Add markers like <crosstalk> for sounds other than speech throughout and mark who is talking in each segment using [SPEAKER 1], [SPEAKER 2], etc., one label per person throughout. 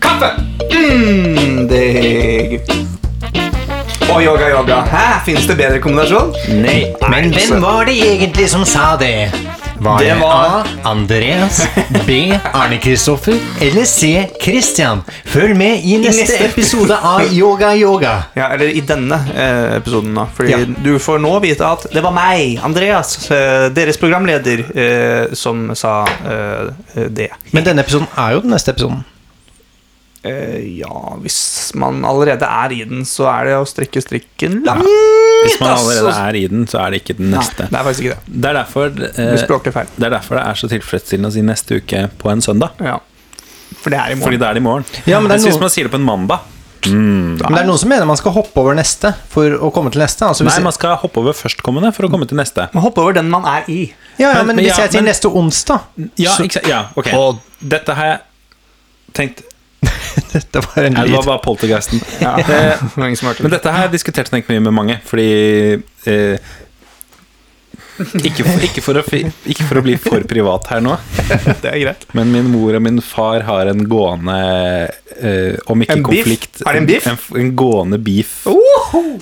[SPEAKER 1] Kaffe! Mm, deg. Og yoga, yoga. Hæ? Fins det bedre kombinasjon?
[SPEAKER 2] Nei, men
[SPEAKER 1] Nei,
[SPEAKER 2] hvem
[SPEAKER 1] så-
[SPEAKER 2] var det egentlig som sa det? Var
[SPEAKER 1] Det
[SPEAKER 2] det,
[SPEAKER 1] var-
[SPEAKER 2] A. Andreas, B. Arne Kristoffer eller C. Christian? Følg med i neste,
[SPEAKER 1] neste-
[SPEAKER 2] episode av <laughs> Yoga Yoga.
[SPEAKER 1] Ja, eller i denne eh, episoden, da. Fordi
[SPEAKER 2] Ja.
[SPEAKER 1] du får nå vite at det var meg, Andreas, eh, deres programleder, eh, som sa eh, det.
[SPEAKER 2] Men denne episoden er jo den neste episoden.
[SPEAKER 1] Eh, ja, hvis man allerede er i den, så er det å strekke strikken langt.
[SPEAKER 3] Hvis man
[SPEAKER 1] ass,
[SPEAKER 3] allerede
[SPEAKER 1] og-
[SPEAKER 3] er i den, så er det ikke den neste.
[SPEAKER 1] Nei, det er faktisk ikke det.
[SPEAKER 3] Det er derfor eh,
[SPEAKER 1] Du språkte feil.
[SPEAKER 3] det er derfor det er så tilfredsstillende å si neste uke på en søndag.
[SPEAKER 1] Ja. For det er i
[SPEAKER 3] Fordi
[SPEAKER 1] morgen.
[SPEAKER 3] det er det i morgen.
[SPEAKER 2] Ja, men det er
[SPEAKER 3] Mens
[SPEAKER 2] noe-
[SPEAKER 3] Hvis man sier det på en mandag
[SPEAKER 2] Men det er noen som mener man skal hoppe over neste for å komme til neste. Altså, hvis,
[SPEAKER 3] Nei, man skal hoppe over førstkommende for å komme til neste.
[SPEAKER 1] Man hopper over den man er i.
[SPEAKER 2] ja, ja, men,
[SPEAKER 3] men-
[SPEAKER 2] hvis
[SPEAKER 3] ja,
[SPEAKER 2] jeg sier
[SPEAKER 3] men-
[SPEAKER 2] neste onsdag
[SPEAKER 3] Ja, ikke, sant? ja ok.
[SPEAKER 2] Og-
[SPEAKER 3] dette har jeg tenkt
[SPEAKER 2] Dette var en
[SPEAKER 3] Nei, det
[SPEAKER 2] lyd.
[SPEAKER 3] var bare poltergeisten.
[SPEAKER 1] <laughs> Eh, ingen som hørte
[SPEAKER 3] Men
[SPEAKER 1] det.
[SPEAKER 3] dette har jeg diskutert tenkt mye med mange, fordi eh, ikke, for, ikke, for å, fi- ikke for å bli for privat her nå,
[SPEAKER 1] Det er greit.
[SPEAKER 3] men min mor og min far har en gående eh, Om ikke
[SPEAKER 1] En biff?
[SPEAKER 3] konflikt
[SPEAKER 1] Er det en Oh. biff?
[SPEAKER 3] En, en gående beef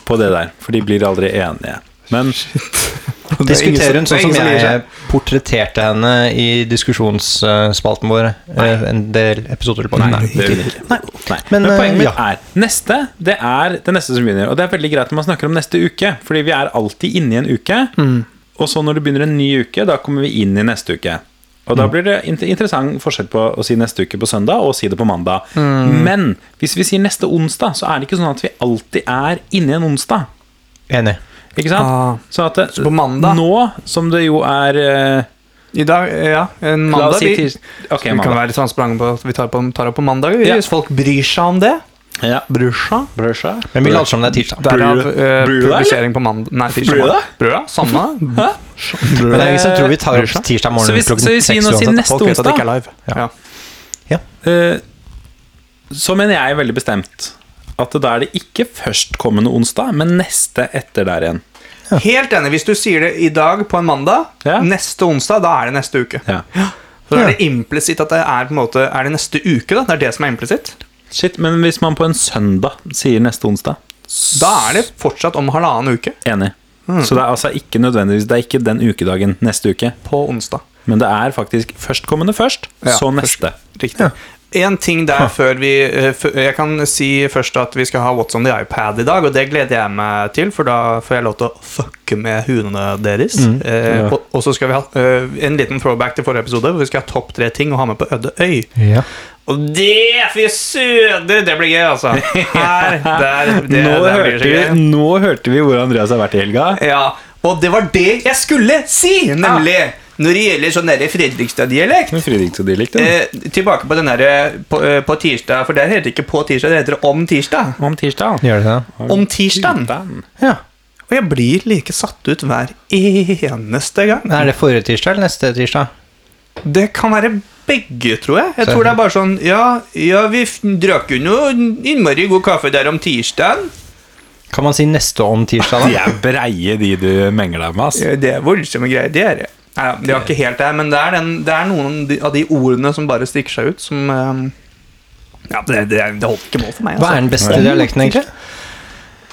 [SPEAKER 3] på det der, for de blir aldri enige. Men
[SPEAKER 1] Det er ingen
[SPEAKER 2] Diskuterer
[SPEAKER 1] som-
[SPEAKER 2] hun
[SPEAKER 1] det er
[SPEAKER 2] sånn
[SPEAKER 1] ingen
[SPEAKER 2] som
[SPEAKER 1] som gir
[SPEAKER 2] jeg
[SPEAKER 1] seg.
[SPEAKER 2] portretterte henne i diskusjonsspalten vår eh, en del episoder tilbake?
[SPEAKER 3] Nei, det vil jeg ikke. Nei. Men,
[SPEAKER 2] Men,
[SPEAKER 3] poenget
[SPEAKER 2] eh,
[SPEAKER 3] mitt
[SPEAKER 2] ja.
[SPEAKER 3] er neste, det er det neste som begynner. Og det er veldig greit når man snakker om neste uke, fordi vi er alltid inne i en uke. Og så når det begynner en ny uke, da kommer vi inn i neste uke. Og da blir det int- interessant forskjell på å si neste uke på søndag og å si det på mandag. Men hvis vi sier neste onsdag, så er det ikke sånn at vi alltid er inne i en onsdag.
[SPEAKER 2] Enig.
[SPEAKER 3] Ikke sant?
[SPEAKER 1] Ah.
[SPEAKER 3] Så at det,
[SPEAKER 1] Så på mandag-
[SPEAKER 3] Nå som det jo er eh,
[SPEAKER 1] I dag, eh, ja, en
[SPEAKER 3] La
[SPEAKER 1] mandag
[SPEAKER 3] oss si
[SPEAKER 1] vi-
[SPEAKER 3] tirs... Ok,
[SPEAKER 1] Vi kan
[SPEAKER 3] mandag.
[SPEAKER 1] være transparente på at vi tar, på, tar opp på mandag. Hvis
[SPEAKER 3] Ja.
[SPEAKER 1] folk bryr seg om det.
[SPEAKER 3] Ja.
[SPEAKER 1] Bryr seg.
[SPEAKER 3] Brødskive.
[SPEAKER 2] Men vi later som det er tirsdag.
[SPEAKER 1] Derav
[SPEAKER 3] Bryr-
[SPEAKER 1] eh,
[SPEAKER 3] bryr deg,
[SPEAKER 1] publisering på mandag. Nei, tirsdag.
[SPEAKER 3] Bryr deg?
[SPEAKER 1] Bryr deg?
[SPEAKER 3] <laughs>
[SPEAKER 1] Samme.
[SPEAKER 3] Hæ?
[SPEAKER 2] Men det er ingen som tror vi tar
[SPEAKER 1] Bryr
[SPEAKER 2] opp
[SPEAKER 1] seg.
[SPEAKER 2] tirsdag
[SPEAKER 3] Så
[SPEAKER 2] morgen
[SPEAKER 3] hvis- så
[SPEAKER 2] klokken
[SPEAKER 3] hvis vi
[SPEAKER 2] seks
[SPEAKER 3] nå sier
[SPEAKER 2] uansett.
[SPEAKER 3] neste
[SPEAKER 1] Folk vet at det ikke
[SPEAKER 3] onsdag
[SPEAKER 1] er live. Ja.
[SPEAKER 3] Eh, Så mener jeg veldig bestemt at da er det ikke førstkommende onsdag, men neste etter der igjen.
[SPEAKER 1] Helt enig. Hvis du sier det i dag på en mandag,
[SPEAKER 3] Ja.
[SPEAKER 1] neste onsdag, da er det neste uke.
[SPEAKER 3] Ja.
[SPEAKER 1] Så er det implisitt at det er på en måte Er det neste uke, da? Det er det som er implisitt.
[SPEAKER 3] Shit, men hvis man på en søndag sier neste onsdag
[SPEAKER 1] Da er det fortsatt om halvannen uke
[SPEAKER 3] Enig.
[SPEAKER 1] Mm.
[SPEAKER 3] Så det er altså ikke nødvendigvis Det er ikke den ukedagen neste uke,
[SPEAKER 1] på onsdag.
[SPEAKER 3] men det er faktisk førstkommende først,
[SPEAKER 1] Ja,
[SPEAKER 3] så
[SPEAKER 1] først.
[SPEAKER 3] neste.
[SPEAKER 1] Riktig. En ting der før vi eh, fø- Jeg kan si først at vi skal ha What's on the iPad i dag, og det gleder jeg meg til, for da får jeg lov til å fucke med hundene deres. Eh,
[SPEAKER 3] Mm. Ja.
[SPEAKER 1] og, og så skal vi ha eh, en liten throwback til forrige episode, hvor vi skal ha topp tre ting å ha med på øde øy.
[SPEAKER 2] Ja.
[SPEAKER 1] Og det, fy søder, det blir gøy,
[SPEAKER 3] <laughs>
[SPEAKER 1] altså. Her, der, det, der
[SPEAKER 3] nå,
[SPEAKER 1] blir
[SPEAKER 3] hørte
[SPEAKER 1] det
[SPEAKER 3] vi,
[SPEAKER 1] gøy.
[SPEAKER 3] nå hørte vi hvor Andreas har vært i helga.
[SPEAKER 1] Ja, og det var det jeg skulle si, nemlig. Når det gjelder sånn derre Fredrikstad-dialekt
[SPEAKER 3] Men Fridrik så de likte den.
[SPEAKER 1] eh, Tilbake på den derre på, eh, på tirsdag, for der heter det ikke på tirsdag, det heter om tirsdag.
[SPEAKER 3] Om tirsdag.
[SPEAKER 2] Gjør det det?
[SPEAKER 1] Om tirsdagen.
[SPEAKER 3] Tirsdagen.
[SPEAKER 2] Ja.
[SPEAKER 1] Og jeg blir like satt ut hver eneste gang.
[SPEAKER 2] Er det forrige tirsdag eller neste tirsdag?
[SPEAKER 1] Det kan være begge, tror jeg. Jeg tror det er bare sånn Ja, ja vi f- drakk jo noe innmari god kaffe der om tirsdagen.
[SPEAKER 2] Kan man si neste om tirsdag,
[SPEAKER 3] De
[SPEAKER 2] da?
[SPEAKER 3] er breie, de du mengler deg med, ass.
[SPEAKER 1] Ja, Det er voldsomme greier. Det er det. Nei, ja, det var ikke helt det, men det er, den, det er noen av de- av de ordene som bare stikker seg ut, som eh, Ja, det, det, det holdt ikke mål for meg. altså. Eh,
[SPEAKER 2] Hva er den beste dialekten, egentlig?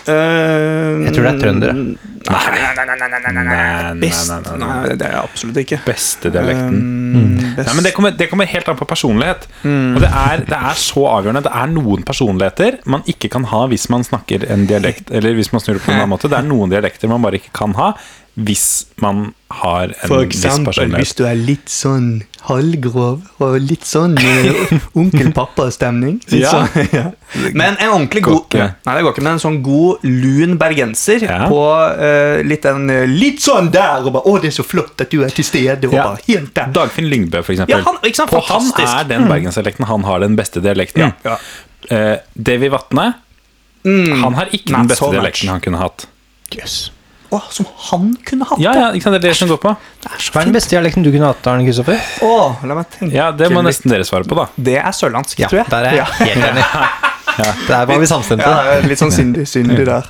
[SPEAKER 2] Jeg tror det er trøndere.
[SPEAKER 1] Nei, nei, nei, nei, nei, nei, nei, nei.
[SPEAKER 3] Nei,
[SPEAKER 1] Best?
[SPEAKER 3] nei, nei, nei,
[SPEAKER 1] Nei,
[SPEAKER 3] nei.
[SPEAKER 1] det er jeg absolutt ikke.
[SPEAKER 3] Beste dialekten.
[SPEAKER 1] Eh, best.
[SPEAKER 3] Nei, men det kommer, det kommer helt an på personlighet.
[SPEAKER 1] Mm.
[SPEAKER 3] Og det er, det er så avgjørende. Det er noen personligheter man ikke kan ha hvis man snakker en dialekt, eller hvis man snur det på en annen måte. Det er noen dialekter man bare ikke kan ha hvis man har en
[SPEAKER 1] For
[SPEAKER 3] viss
[SPEAKER 1] eksempel hvis
[SPEAKER 3] personlighet.
[SPEAKER 1] du er litt sånn halvgrov og litt sånn
[SPEAKER 3] <laughs>
[SPEAKER 1] eh, onkel-pappa-stemning.
[SPEAKER 3] Ja.
[SPEAKER 1] Så- <laughs> ja. Men en ordentlig god
[SPEAKER 3] ikke.
[SPEAKER 1] Nei, det går ikke, men en sånn god lun bergenser
[SPEAKER 3] Ja.
[SPEAKER 1] på eh, litt den eh, Litt sånn der, og bare 'Å, det er så flott at du er til stede', og
[SPEAKER 3] Ja.
[SPEAKER 1] bare helt der.
[SPEAKER 3] Dagfinn Lyngbø, for eksempel.
[SPEAKER 1] Ja, han- ikke sant?
[SPEAKER 3] og han
[SPEAKER 1] Fantastisk. Mm.
[SPEAKER 3] er den bergensdialekten. Han har den beste dialekten.
[SPEAKER 1] Ja. Mm.
[SPEAKER 3] Eh, Davy Vatne, han har ikke
[SPEAKER 1] Not
[SPEAKER 3] den beste
[SPEAKER 1] so much.
[SPEAKER 3] dialekten han kunne hatt.
[SPEAKER 1] Å, som han kunne hatt
[SPEAKER 3] Ja, ja, ikke sant? Det er det som går på.
[SPEAKER 2] Hva er den beste dialekten du kunne hatt, Arne Kristoffer?
[SPEAKER 1] Å, la meg tenke
[SPEAKER 3] Ja, Det må
[SPEAKER 1] litt.
[SPEAKER 3] nesten dere svare på, da.
[SPEAKER 1] Det er sørlandsk, tror jeg.
[SPEAKER 2] der er jeg helt enig. Der var vi samstemte.
[SPEAKER 1] Ja, det er litt sånn syndig, syndig der.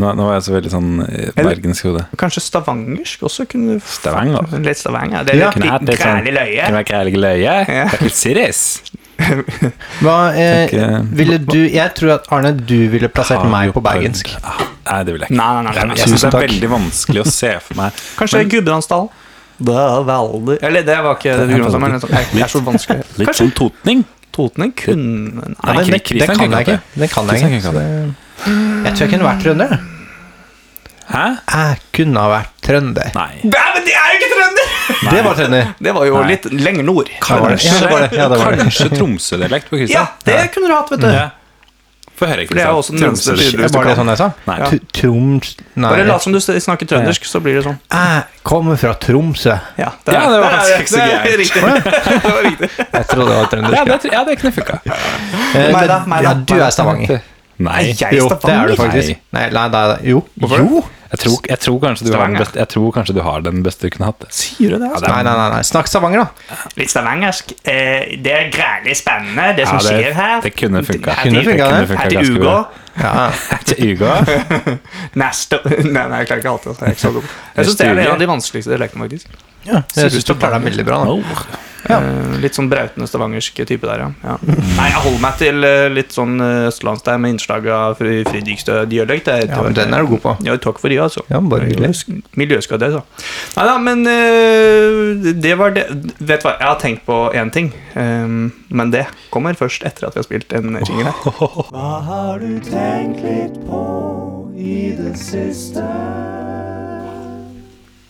[SPEAKER 3] Nå, nå var jeg så veldig sånn eh,
[SPEAKER 1] Eller-
[SPEAKER 3] bergensk hode.
[SPEAKER 1] Kanskje stavangersk også kunne
[SPEAKER 3] Stavanger.
[SPEAKER 1] Litt stavanger. Det er
[SPEAKER 2] Ja.
[SPEAKER 1] litt
[SPEAKER 3] Kunne hatt
[SPEAKER 1] litt
[SPEAKER 3] litt sånn-
[SPEAKER 1] grælig løye.
[SPEAKER 3] Kunne vært grælig løye.
[SPEAKER 1] Ja.
[SPEAKER 3] Litt seriøs.
[SPEAKER 2] Hva, eh,
[SPEAKER 3] Tenker-
[SPEAKER 2] ville du, jeg tror at Arne, du ville plassert meg på bergensk.
[SPEAKER 3] Ah, Nei, det vil jeg ikke.
[SPEAKER 1] Nei, nei, nei, nei, nei.
[SPEAKER 3] Jeg syns det er
[SPEAKER 2] Tusen takk.
[SPEAKER 3] veldig vanskelig å se for
[SPEAKER 2] <laughs>
[SPEAKER 3] meg
[SPEAKER 1] Kanskje Gudbrandsdal. Det er veldig Eller det var ikke
[SPEAKER 3] Det er
[SPEAKER 1] Gudbrandsdal, men
[SPEAKER 3] veldig-
[SPEAKER 1] liksom, det er så vanskelig.
[SPEAKER 3] Litt
[SPEAKER 1] Kanskje
[SPEAKER 3] sånn totning.
[SPEAKER 1] Totning kunne
[SPEAKER 3] Nei,
[SPEAKER 1] Nei,
[SPEAKER 2] men
[SPEAKER 3] Kri-
[SPEAKER 2] det- det
[SPEAKER 3] Kristian
[SPEAKER 2] kan jeg
[SPEAKER 3] kalle
[SPEAKER 2] ikke. Det kan jeg ikke.
[SPEAKER 3] Kristian kalle det.
[SPEAKER 2] Jeg tror jeg kunne vært trønder. jeg.
[SPEAKER 3] Hæ?
[SPEAKER 2] Jeg kunne ha vært trønder.
[SPEAKER 3] Nei.
[SPEAKER 1] Nei, men det er jo ikke trønder!
[SPEAKER 2] Det var trønder.
[SPEAKER 1] Det var jo
[SPEAKER 3] Nei.
[SPEAKER 1] litt lenger nord.
[SPEAKER 2] Det var det. Ja, det var det. Ja, det var det.
[SPEAKER 3] Kanskje Tromsø-dialekt på
[SPEAKER 1] Ja,
[SPEAKER 3] Kristian.
[SPEAKER 1] det kunne du hatt, vet du.
[SPEAKER 3] Ja. Få høre,
[SPEAKER 1] For det er jo også den eneste
[SPEAKER 3] Tromsø-dialekt.
[SPEAKER 1] Hvis du
[SPEAKER 2] Var det
[SPEAKER 1] kan.
[SPEAKER 2] sånn jeg sa?
[SPEAKER 3] Nei.
[SPEAKER 2] T- Troms Nei.
[SPEAKER 1] Bare lat som du snakker trøndersk, så blir det sånn.
[SPEAKER 2] Jeg kommer fra Tromsø.
[SPEAKER 1] Ja,
[SPEAKER 3] Ja, det var
[SPEAKER 1] er-
[SPEAKER 3] faktisk ikke så
[SPEAKER 1] det er
[SPEAKER 3] gærent.
[SPEAKER 1] Riktig. <laughs> Det var riktig.
[SPEAKER 2] Jeg trodde det var trøndersk.
[SPEAKER 3] Ja, det, tr- ja, det kunne funka.
[SPEAKER 2] Eh,
[SPEAKER 1] Meg da,
[SPEAKER 2] men-
[SPEAKER 1] meg da,
[SPEAKER 2] ja, du
[SPEAKER 1] meg da.
[SPEAKER 2] er Stavanger.
[SPEAKER 3] Nei.
[SPEAKER 1] Er jeg
[SPEAKER 2] Jo, det er
[SPEAKER 1] Stavanger?
[SPEAKER 2] du faktisk. Nei, nei, nei, nei. Jo. jo.
[SPEAKER 3] Jeg tror, jeg, tror kanskje du har den
[SPEAKER 1] Stavanger.
[SPEAKER 3] beste, jeg tror kanskje du har den beste du kunne hatt.
[SPEAKER 1] Sier du det? Altså?
[SPEAKER 2] Nei, nei, nei, nei. Snakk Stavanger, da.
[SPEAKER 1] Litt stavangersk. Eh, det er grælig spennende, det som
[SPEAKER 3] Ja, det-
[SPEAKER 1] skjer her.
[SPEAKER 3] det kunne funka.
[SPEAKER 1] Her
[SPEAKER 2] Kunne
[SPEAKER 1] til-
[SPEAKER 2] funka,
[SPEAKER 1] her
[SPEAKER 2] det.
[SPEAKER 3] Funka
[SPEAKER 1] til
[SPEAKER 3] ganske
[SPEAKER 1] Ugo.
[SPEAKER 3] bra.
[SPEAKER 2] Ja.
[SPEAKER 3] Til
[SPEAKER 1] <laughs>
[SPEAKER 3] Ugo.
[SPEAKER 1] Neste <laughs> Nei, nei, jeg klarer ikke alltid. altså. Jeg, er ikke så god. jeg syns
[SPEAKER 3] Neste
[SPEAKER 1] det er
[SPEAKER 3] uke.
[SPEAKER 1] en av de vanskeligste dialektene, faktisk.
[SPEAKER 2] Jeg syns du klarer deg veldig bra. Da.
[SPEAKER 1] Eh, litt sånn brautende stavangersk type der, ja. ja. Nei, jeg holder meg til eh, litt sånn eh, østlands der med innslag av fri- Fridrikstø-dialekt. jeg
[SPEAKER 2] Ja,
[SPEAKER 1] tror.
[SPEAKER 2] men Den er du god på.
[SPEAKER 1] Ja, takk for det, altså.
[SPEAKER 2] Ja, men bare hyggelig.
[SPEAKER 1] Miljøsk- Miljøskadd, altså. Nei da, men eh, det var det. Vet du hva, jeg har tenkt på én ting, eh, men det kommer først etter at vi har spilt en jingle her.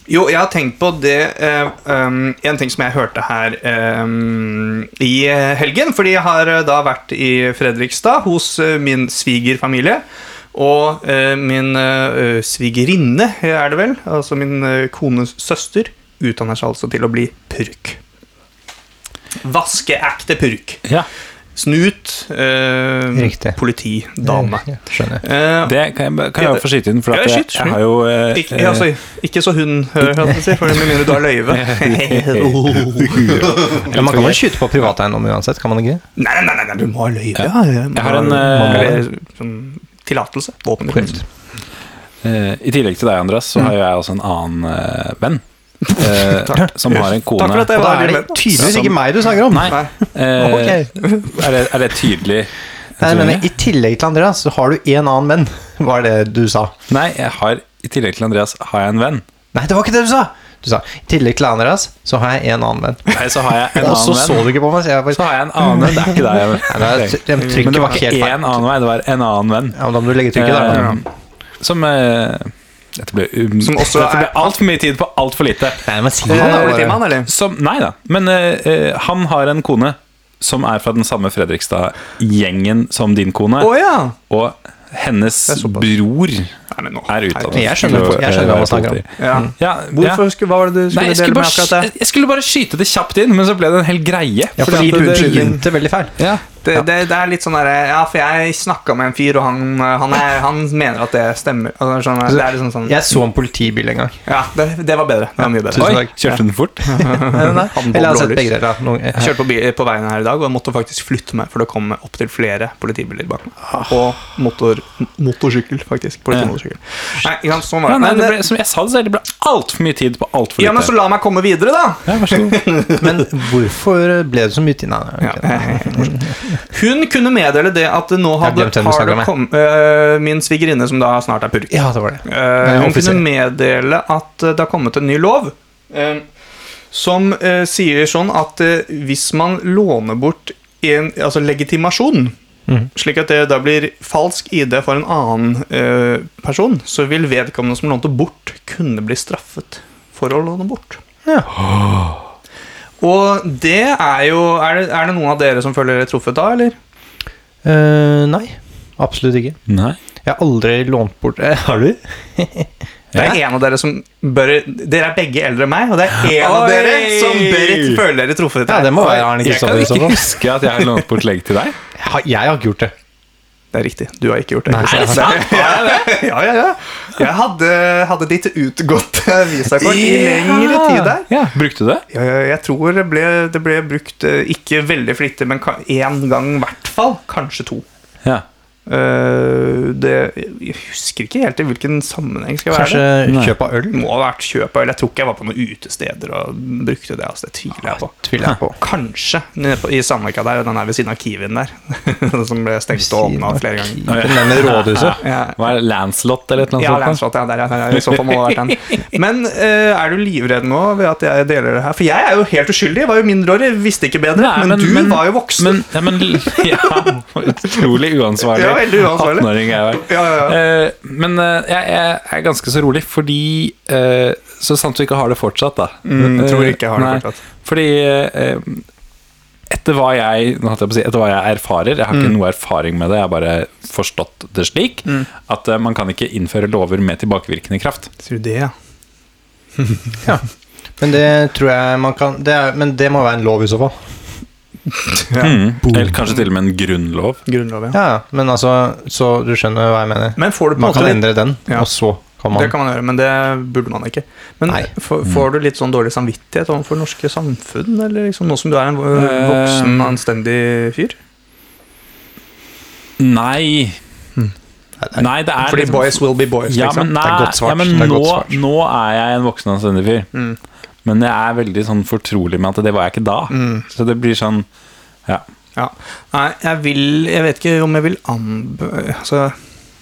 [SPEAKER 1] Jo, jeg har tenkt på det eh, um, En ting som jeg hørte her um, i helgen. Fordi jeg har eh, da vært i Fredrikstad hos eh, min svigerfamilie. Og eh, min eh, svigerinne, er det vel, altså min eh, kones søster, utdanner seg altså til å bli purk. Vaskeekte purk.
[SPEAKER 3] Ja,
[SPEAKER 1] Snut, eh,
[SPEAKER 2] Riktig.
[SPEAKER 1] politidame.
[SPEAKER 2] Ja, skjønner. jeg.
[SPEAKER 1] Eh,
[SPEAKER 3] det kan jeg, kan jeg bare få skyte inn, for
[SPEAKER 1] Ja,
[SPEAKER 3] at jeg,
[SPEAKER 1] skyt, skyt.
[SPEAKER 3] jeg har jo eh,
[SPEAKER 1] ikke, ja, altså, ikke så hun, hører jeg at jeg sier, for med mindre du har <laughs> løyve.
[SPEAKER 2] Men man kan vel skyte på privateiendom uansett, kan man ikke?
[SPEAKER 1] Nei, nei, nei, nei, du må ha løyve. Ja, ja, sånn
[SPEAKER 3] Jeg har en, eh,
[SPEAKER 1] Tillatelse. Våpentillatelse.
[SPEAKER 3] Eh, I tillegg til deg, Andreas, så har jo jeg også en annen eh,
[SPEAKER 1] <laughs>
[SPEAKER 3] venn. eh, som har en kone
[SPEAKER 1] Takk for at jeg
[SPEAKER 2] Og da
[SPEAKER 1] var
[SPEAKER 2] er
[SPEAKER 1] litt
[SPEAKER 2] det
[SPEAKER 1] med.
[SPEAKER 2] tydeligvis ikke meg du snakker om.
[SPEAKER 3] Nei. eh,
[SPEAKER 2] Ok.
[SPEAKER 3] er, det, er det tydelig?
[SPEAKER 2] Nei, men I tillegg til Andreas så har du en annen venn, <laughs> var det du sa.
[SPEAKER 3] Nei, jeg har i tillegg til Andreas har jeg en venn.
[SPEAKER 2] Nei, det var ikke det du sa! Du sa i tillegg til Andreas så har jeg en annen venn.
[SPEAKER 3] Nei, så har jeg en
[SPEAKER 2] Og så
[SPEAKER 3] annen
[SPEAKER 2] så
[SPEAKER 3] venn.
[SPEAKER 2] du ikke på meg, så jeg
[SPEAKER 3] Så
[SPEAKER 2] bare
[SPEAKER 3] har jeg en annen venn. Det er ikke deg. jeg-
[SPEAKER 2] Nei, det er- de trykker
[SPEAKER 3] Men det var
[SPEAKER 2] på
[SPEAKER 3] ikke
[SPEAKER 2] helt feil.
[SPEAKER 3] én annen vei, det var en annen venn.
[SPEAKER 2] Ja, men da må du legge trykket der. da.
[SPEAKER 3] Eh, som eh, Dette ble, um,
[SPEAKER 1] Som også
[SPEAKER 3] dette ble
[SPEAKER 1] er-
[SPEAKER 3] altfor mye tid på altfor lite.
[SPEAKER 2] Nei, men si
[SPEAKER 1] Eh,
[SPEAKER 2] det, da.
[SPEAKER 1] er det
[SPEAKER 2] bare.
[SPEAKER 1] timen, eller?
[SPEAKER 3] Som, nei da, men eh, eh, han har en kone som er fra den samme Fredrikstad-gjengen som din kone.
[SPEAKER 1] Å ja!
[SPEAKER 3] Og hennes
[SPEAKER 1] Det er såpass.
[SPEAKER 3] bror
[SPEAKER 1] Nei, men nå.
[SPEAKER 3] er utdannet.
[SPEAKER 2] Jeg skjønner-
[SPEAKER 3] til å,
[SPEAKER 2] jeg skjønner hva
[SPEAKER 3] eh,
[SPEAKER 2] man snakker om.
[SPEAKER 3] politi.
[SPEAKER 1] Ja.
[SPEAKER 3] Ja,
[SPEAKER 1] Hvorfor
[SPEAKER 3] ja.
[SPEAKER 1] skulle, hva var det du
[SPEAKER 3] Nei,
[SPEAKER 1] skulle
[SPEAKER 3] jeg,
[SPEAKER 1] dele
[SPEAKER 3] skulle
[SPEAKER 1] med
[SPEAKER 3] bare,
[SPEAKER 1] akkurat det?
[SPEAKER 3] sky- jeg skulle bare skyte det kjapt inn, men så ble det en hel greie.
[SPEAKER 2] Ja, fordi
[SPEAKER 3] at
[SPEAKER 2] du
[SPEAKER 3] det-
[SPEAKER 2] begynte veldig feil.
[SPEAKER 3] ja.
[SPEAKER 1] Det, det, det er litt sånn derre Ja, for jeg snakka med en fyr, og han, eh, han, er, han mener at det stemmer. Altså, sånn, det er liksom sånn
[SPEAKER 2] Jeg så en politibil en gang.
[SPEAKER 1] Ja, det, det var bedre. Det var mye bedre.
[SPEAKER 2] Tusen
[SPEAKER 3] Oi,
[SPEAKER 2] takk.
[SPEAKER 3] kjørte den fort?
[SPEAKER 2] Eller jeg har sett begge deler. da. Noen-
[SPEAKER 1] Jeg <laughs> kjørte på, bi- på veien her i dag og jeg måtte faktisk flytte meg, for det kom opptil flere politibiler bak meg.
[SPEAKER 3] Ah.
[SPEAKER 1] Og motor, motorsykkel, faktisk. Politimotorsykkel. Nei, ikke sant, sånn var
[SPEAKER 3] Ja,
[SPEAKER 1] det.
[SPEAKER 3] nei, det
[SPEAKER 1] Men, eh,
[SPEAKER 3] ble, som jeg sa det selv, det ble altfor mye tid på altfor
[SPEAKER 1] ja, men så
[SPEAKER 3] lite.
[SPEAKER 1] la meg komme videre, da!
[SPEAKER 3] Ja, vær så god.
[SPEAKER 2] Men hvorfor ble det så mye til? Nei, nei, ok.
[SPEAKER 1] Hun kunne meddele det at det nå hadde
[SPEAKER 2] Jeg glemte hvem du
[SPEAKER 1] har det
[SPEAKER 2] snakket
[SPEAKER 1] kom, øh, min svigerinne, som da snart er purk
[SPEAKER 2] Ja, det var det.
[SPEAKER 1] øh, Hun
[SPEAKER 2] offisiell.
[SPEAKER 1] kunne meddele at øh, det har kommet en ny lov øh, som øh, sier sånn at øh, hvis man låner bort en, altså legitimasjon,
[SPEAKER 2] Mm.
[SPEAKER 1] slik at det da blir falsk ID for en annen øh, person, så vil vedkommende som lånte bort, kunne bli straffet for å låne bort.
[SPEAKER 2] Ja.
[SPEAKER 1] Og det er jo Er det, er det noen av dere som føler dere truffet da, eller?
[SPEAKER 2] Eh, nei, absolutt ikke.
[SPEAKER 3] Nei.
[SPEAKER 2] Jeg har aldri lånt bort eh, Har du?
[SPEAKER 1] Det er en av dere som bør Dere er begge eldre enn meg, og det er en av
[SPEAKER 3] Oi!
[SPEAKER 1] dere som bør føle dere truffet.
[SPEAKER 2] Ja, det må være Arne
[SPEAKER 3] Jeg
[SPEAKER 2] Kristoffer
[SPEAKER 3] kan
[SPEAKER 2] i så
[SPEAKER 3] ikke
[SPEAKER 2] fall.
[SPEAKER 3] huske at jeg har lånt bort legg til deg.
[SPEAKER 2] Jeg har- Jeg har ikke gjort det.
[SPEAKER 1] Det er riktig. Du har ikke gjort det.
[SPEAKER 2] Nei,
[SPEAKER 1] Kristian.
[SPEAKER 2] er det
[SPEAKER 1] <laughs> Ja, ja, ja. Jeg hadde, hadde ditt utgåtte visakort i lengre tid der.
[SPEAKER 3] Ja, Brukte du det?
[SPEAKER 1] Ja, ja, jeg tror det ble, det ble brukt eh, ikke veldig flittig, men ka- én gang i hvert fall. Kanskje to.
[SPEAKER 3] Ja.
[SPEAKER 1] Eh, det, jeg husker ikke helt i hvilken sammenheng skal være
[SPEAKER 2] Kanskje
[SPEAKER 1] det.
[SPEAKER 3] Nei.
[SPEAKER 2] kjøp av øl?
[SPEAKER 1] Det må ha vært kjøp av øl. Jeg tror ikke jeg var på noen utesteder og brukte det. Altså, det tviler jeg på.
[SPEAKER 2] Tviler jeg på.
[SPEAKER 1] Kanskje nede på, i Sandvika der, den er ved siden av Kiwien der. <laughs> som ble stengt og åpna flere ganger.
[SPEAKER 2] Den der med rådhuset.
[SPEAKER 1] Ja,
[SPEAKER 3] Hva er det, Landslott eller et eller
[SPEAKER 1] ja,
[SPEAKER 3] annet? sånt,
[SPEAKER 1] Landsrådet,
[SPEAKER 3] da?
[SPEAKER 1] ja, der, ja, der, ja, i så fall må det ha vært den. Men eh, er du livredd nå ved at jeg deler det her? For jeg er jo helt uskyldig, var jo mindreårig, visste ikke bedre.
[SPEAKER 3] Nei,
[SPEAKER 1] men, du var jo voksen.
[SPEAKER 3] Men, ja, men, ja, <laughs> utrolig uansvarlig.
[SPEAKER 1] Ja, veldig uansvarlig.
[SPEAKER 3] 18-åring er jeg.
[SPEAKER 1] Ja, ja,
[SPEAKER 3] Eh, men eh, jeg, jeg er ganske så rolig, fordi eh, Så sant du ikke har det fortsatt, da.
[SPEAKER 1] Mm, tror ikke jeg har det
[SPEAKER 3] eh, Nei,
[SPEAKER 1] fortsatt.
[SPEAKER 3] Fordi eh, etter hva jeg Nå holdt jeg på å si Etter hva jeg erfarer Jeg har
[SPEAKER 2] Mm.
[SPEAKER 3] ikke noe erfaring med det, jeg har bare forstått det slik at eh, man kan ikke innføre lover med tilbakevirkende kraft.
[SPEAKER 1] Tror du det, ja.
[SPEAKER 2] Men det tror jeg man kan det er, Men det må være en lov i så fall.
[SPEAKER 1] ja.
[SPEAKER 3] Mm.
[SPEAKER 2] Mm.
[SPEAKER 3] Eller kanskje til og med en grunnlov.
[SPEAKER 1] Grunnlov, ja.
[SPEAKER 2] Ja, ja, men altså Så du skjønner hva jeg mener.
[SPEAKER 1] Men får du på en
[SPEAKER 2] Man kan
[SPEAKER 1] måte litt
[SPEAKER 2] endre den,
[SPEAKER 1] Ja.
[SPEAKER 2] og så kan man
[SPEAKER 1] Det kan man gjøre, men det burde man ikke. Men
[SPEAKER 2] Nei.
[SPEAKER 1] får, får du litt sånn dårlig samvittighet overfor norske samfunn, eller liksom, nå som du er en vo-
[SPEAKER 3] Eh.
[SPEAKER 1] voksen, anstendig fyr?
[SPEAKER 3] Nei.
[SPEAKER 2] Mm.
[SPEAKER 3] Nei, det er
[SPEAKER 1] Fordi
[SPEAKER 3] liksom-
[SPEAKER 1] boys will be boys,
[SPEAKER 3] Ja,
[SPEAKER 1] liksom.
[SPEAKER 3] men, nei,
[SPEAKER 2] Det er godt svart.
[SPEAKER 3] Ja, men
[SPEAKER 2] Det er
[SPEAKER 3] nå,
[SPEAKER 2] godt svart.
[SPEAKER 3] nå er jeg en voksen og anstendig fyr.
[SPEAKER 1] Mm.
[SPEAKER 3] Men jeg er veldig sånn fortrolig med at det var jeg ikke da.
[SPEAKER 2] Mm.
[SPEAKER 3] Så det blir sånn Ja.
[SPEAKER 1] Ja. Nei, jeg vil Jeg vet ikke om jeg vil amb... Altså,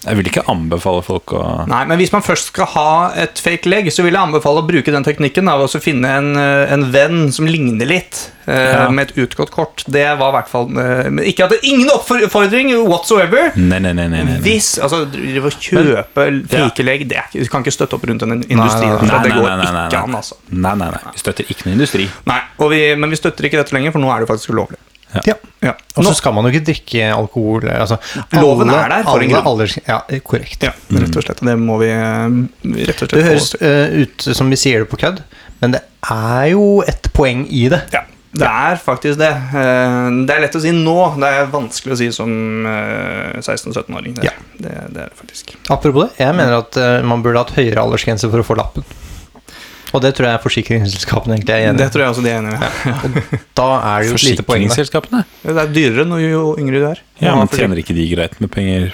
[SPEAKER 3] Jeg vil ikke anbefale folk å
[SPEAKER 1] nei, men hvis man først skal ha et fake leg, så vil jeg anbefale å bruke den teknikken av å så finne en, eh, en venn som ligner litt, eh,
[SPEAKER 3] Ja.
[SPEAKER 1] med et utgått kort. Det var i hvert fall eh, men Ikke at det ingen oppfordring whatsoever.
[SPEAKER 3] Nei, nei, nei. nei, nei, nei.
[SPEAKER 1] Hvis, altså, drive og kjøpe fikelegg det er, ikke- Du kan ikke støtte opp rundt en industri.
[SPEAKER 2] Nei, nei,
[SPEAKER 1] altså.
[SPEAKER 3] nei,
[SPEAKER 1] det
[SPEAKER 3] nei,
[SPEAKER 1] går
[SPEAKER 3] nei, nei, nei,
[SPEAKER 1] ikke
[SPEAKER 3] nei.
[SPEAKER 1] an, altså.
[SPEAKER 3] Nei, nei, nei. Vi støtter ikke noe industri.
[SPEAKER 1] Nei, og vi, men vi støtter ikke dette lenger, for nå er det faktisk ulovlig.
[SPEAKER 2] Ja.
[SPEAKER 1] Ja.
[SPEAKER 2] Og
[SPEAKER 1] Nå,
[SPEAKER 2] så skal man jo ikke drikke alkohol altså,
[SPEAKER 1] Loven er der for en
[SPEAKER 2] alle
[SPEAKER 1] grunn.
[SPEAKER 2] alders- Ja, korrekt.
[SPEAKER 1] ja, rett og slett. og Det må vi eh, rett og slett
[SPEAKER 2] Det
[SPEAKER 1] forholde
[SPEAKER 2] høres
[SPEAKER 1] oss til.
[SPEAKER 2] eh, ut som vi sier det på kødd, men det er jo et poeng i det.
[SPEAKER 1] Ja, det er faktisk det. Eh, Det er lett å si nå. Det er vanskelig å si som eh, 16-17-åring. Det,
[SPEAKER 2] Ja.
[SPEAKER 1] det, det er det faktisk.
[SPEAKER 2] Apropos det, jeg mener at eh, man burde hatt høyere aldersgrense for å få lappen. Og det tror jeg forsikringsselskapene egentlig er enig
[SPEAKER 1] Det tror jeg også de er enig med.
[SPEAKER 2] i. Da er det jo et lite poeng der.
[SPEAKER 3] Forsikringsselskapene?
[SPEAKER 1] Det er dyrere når jo yngre du er.
[SPEAKER 3] Ja, men
[SPEAKER 1] fordi-
[SPEAKER 3] tjener ikke de greit med penger?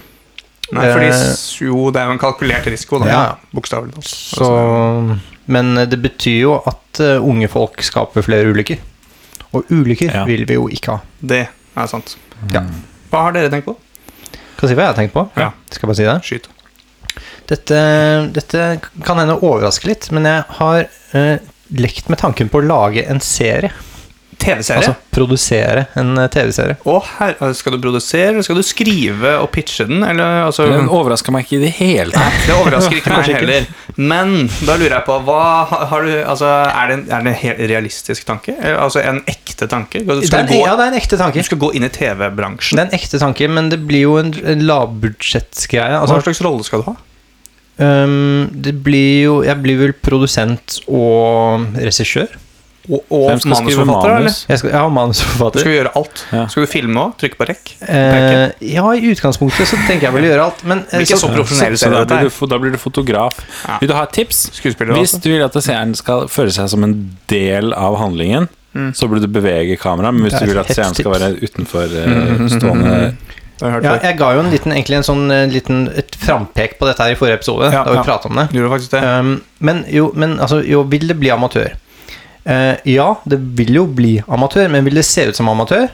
[SPEAKER 1] Nei, fordi
[SPEAKER 2] Eh,
[SPEAKER 1] s- jo, det er jo en kalkulert risiko, da.
[SPEAKER 2] Ja.
[SPEAKER 1] Bokstavelig talt.
[SPEAKER 2] Så,
[SPEAKER 3] altså.
[SPEAKER 2] men eh, det betyr jo at eh, unge folk skaper flere ulykker. Og ulykker
[SPEAKER 3] Ja.
[SPEAKER 2] vil vi jo ikke ha.
[SPEAKER 1] Det er sant.
[SPEAKER 2] Ja.
[SPEAKER 1] Hva har dere tenkt på?
[SPEAKER 2] Skal jeg si hva jeg har tenkt på?
[SPEAKER 1] Ja.
[SPEAKER 2] Skal jeg bare si det?
[SPEAKER 1] Skyt.
[SPEAKER 2] Dette, dette kan hende overraske litt, men jeg har eh, lekt med tanken på å lage en serie.
[SPEAKER 1] TV-serie?
[SPEAKER 2] Altså produsere en eh, TV-serie.
[SPEAKER 1] Å, her, skal du produsere, eller skal du skrive og pitche den? Eller, altså,
[SPEAKER 3] Den overraska meg ikke i det hele tatt.
[SPEAKER 1] det overrasker ikke meg heller. Men da lurer jeg på hva ha- har du, altså, er, det en, er det en helt realistisk tanke? Eller, Altså en ekte tanke? Skal du,
[SPEAKER 2] Det er en,
[SPEAKER 1] gå,
[SPEAKER 2] ja, det er en ekte tanke.
[SPEAKER 1] du skal gå inn i
[SPEAKER 2] Det
[SPEAKER 1] TV-bransjen.
[SPEAKER 2] er en ekte tanke, men det blir jo en, en lavbudsjettsgreie.
[SPEAKER 1] Hva
[SPEAKER 2] Altså,
[SPEAKER 1] slags rolle skal du ha?
[SPEAKER 2] øhm, det blir jo Jeg blir vel produsent og regissør.
[SPEAKER 1] Og, og
[SPEAKER 3] Hvem skal skrive
[SPEAKER 1] manusforfatter? eller?
[SPEAKER 3] manus?
[SPEAKER 2] Jeg, skal, jeg har manusforfatter.
[SPEAKER 1] Skal du gjøre alt?
[SPEAKER 3] Ja.
[SPEAKER 1] Skal du filme òg? Trykke på rekk?
[SPEAKER 2] Eh, ja, i utgangspunktet så tenker jeg vel å gjøre alt, men eh,
[SPEAKER 1] Blir ikke så profesjonell
[SPEAKER 3] Så da
[SPEAKER 1] serie,
[SPEAKER 3] blir du,
[SPEAKER 1] dette her.
[SPEAKER 3] fo- da blir du fotograf.
[SPEAKER 1] Ja.
[SPEAKER 3] Vil du ha et tips?
[SPEAKER 1] Skuespiller,
[SPEAKER 3] Hvis
[SPEAKER 1] altså.
[SPEAKER 3] du vil at seeren skal føle seg som en del av handlingen, så burde du bevege kameraet. Men hvis
[SPEAKER 2] Det er
[SPEAKER 3] du vil
[SPEAKER 2] et
[SPEAKER 3] at seeren skal
[SPEAKER 2] tips.
[SPEAKER 3] være utenfor eh, stående
[SPEAKER 1] Det har jeg hørt
[SPEAKER 2] ja,
[SPEAKER 1] før.
[SPEAKER 2] jeg ga jo en liten, egentlig en sånn eh, liten, et frampek på dette her i forrige episode,
[SPEAKER 1] Ja,
[SPEAKER 2] da vi
[SPEAKER 1] ja.
[SPEAKER 2] pratet om det.
[SPEAKER 1] Gjorde du faktisk det?
[SPEAKER 2] Um, men jo, men altså, jo, vil det bli amatør? Eh, ja, det vil jo bli amatør, men vil det se ut som amatør?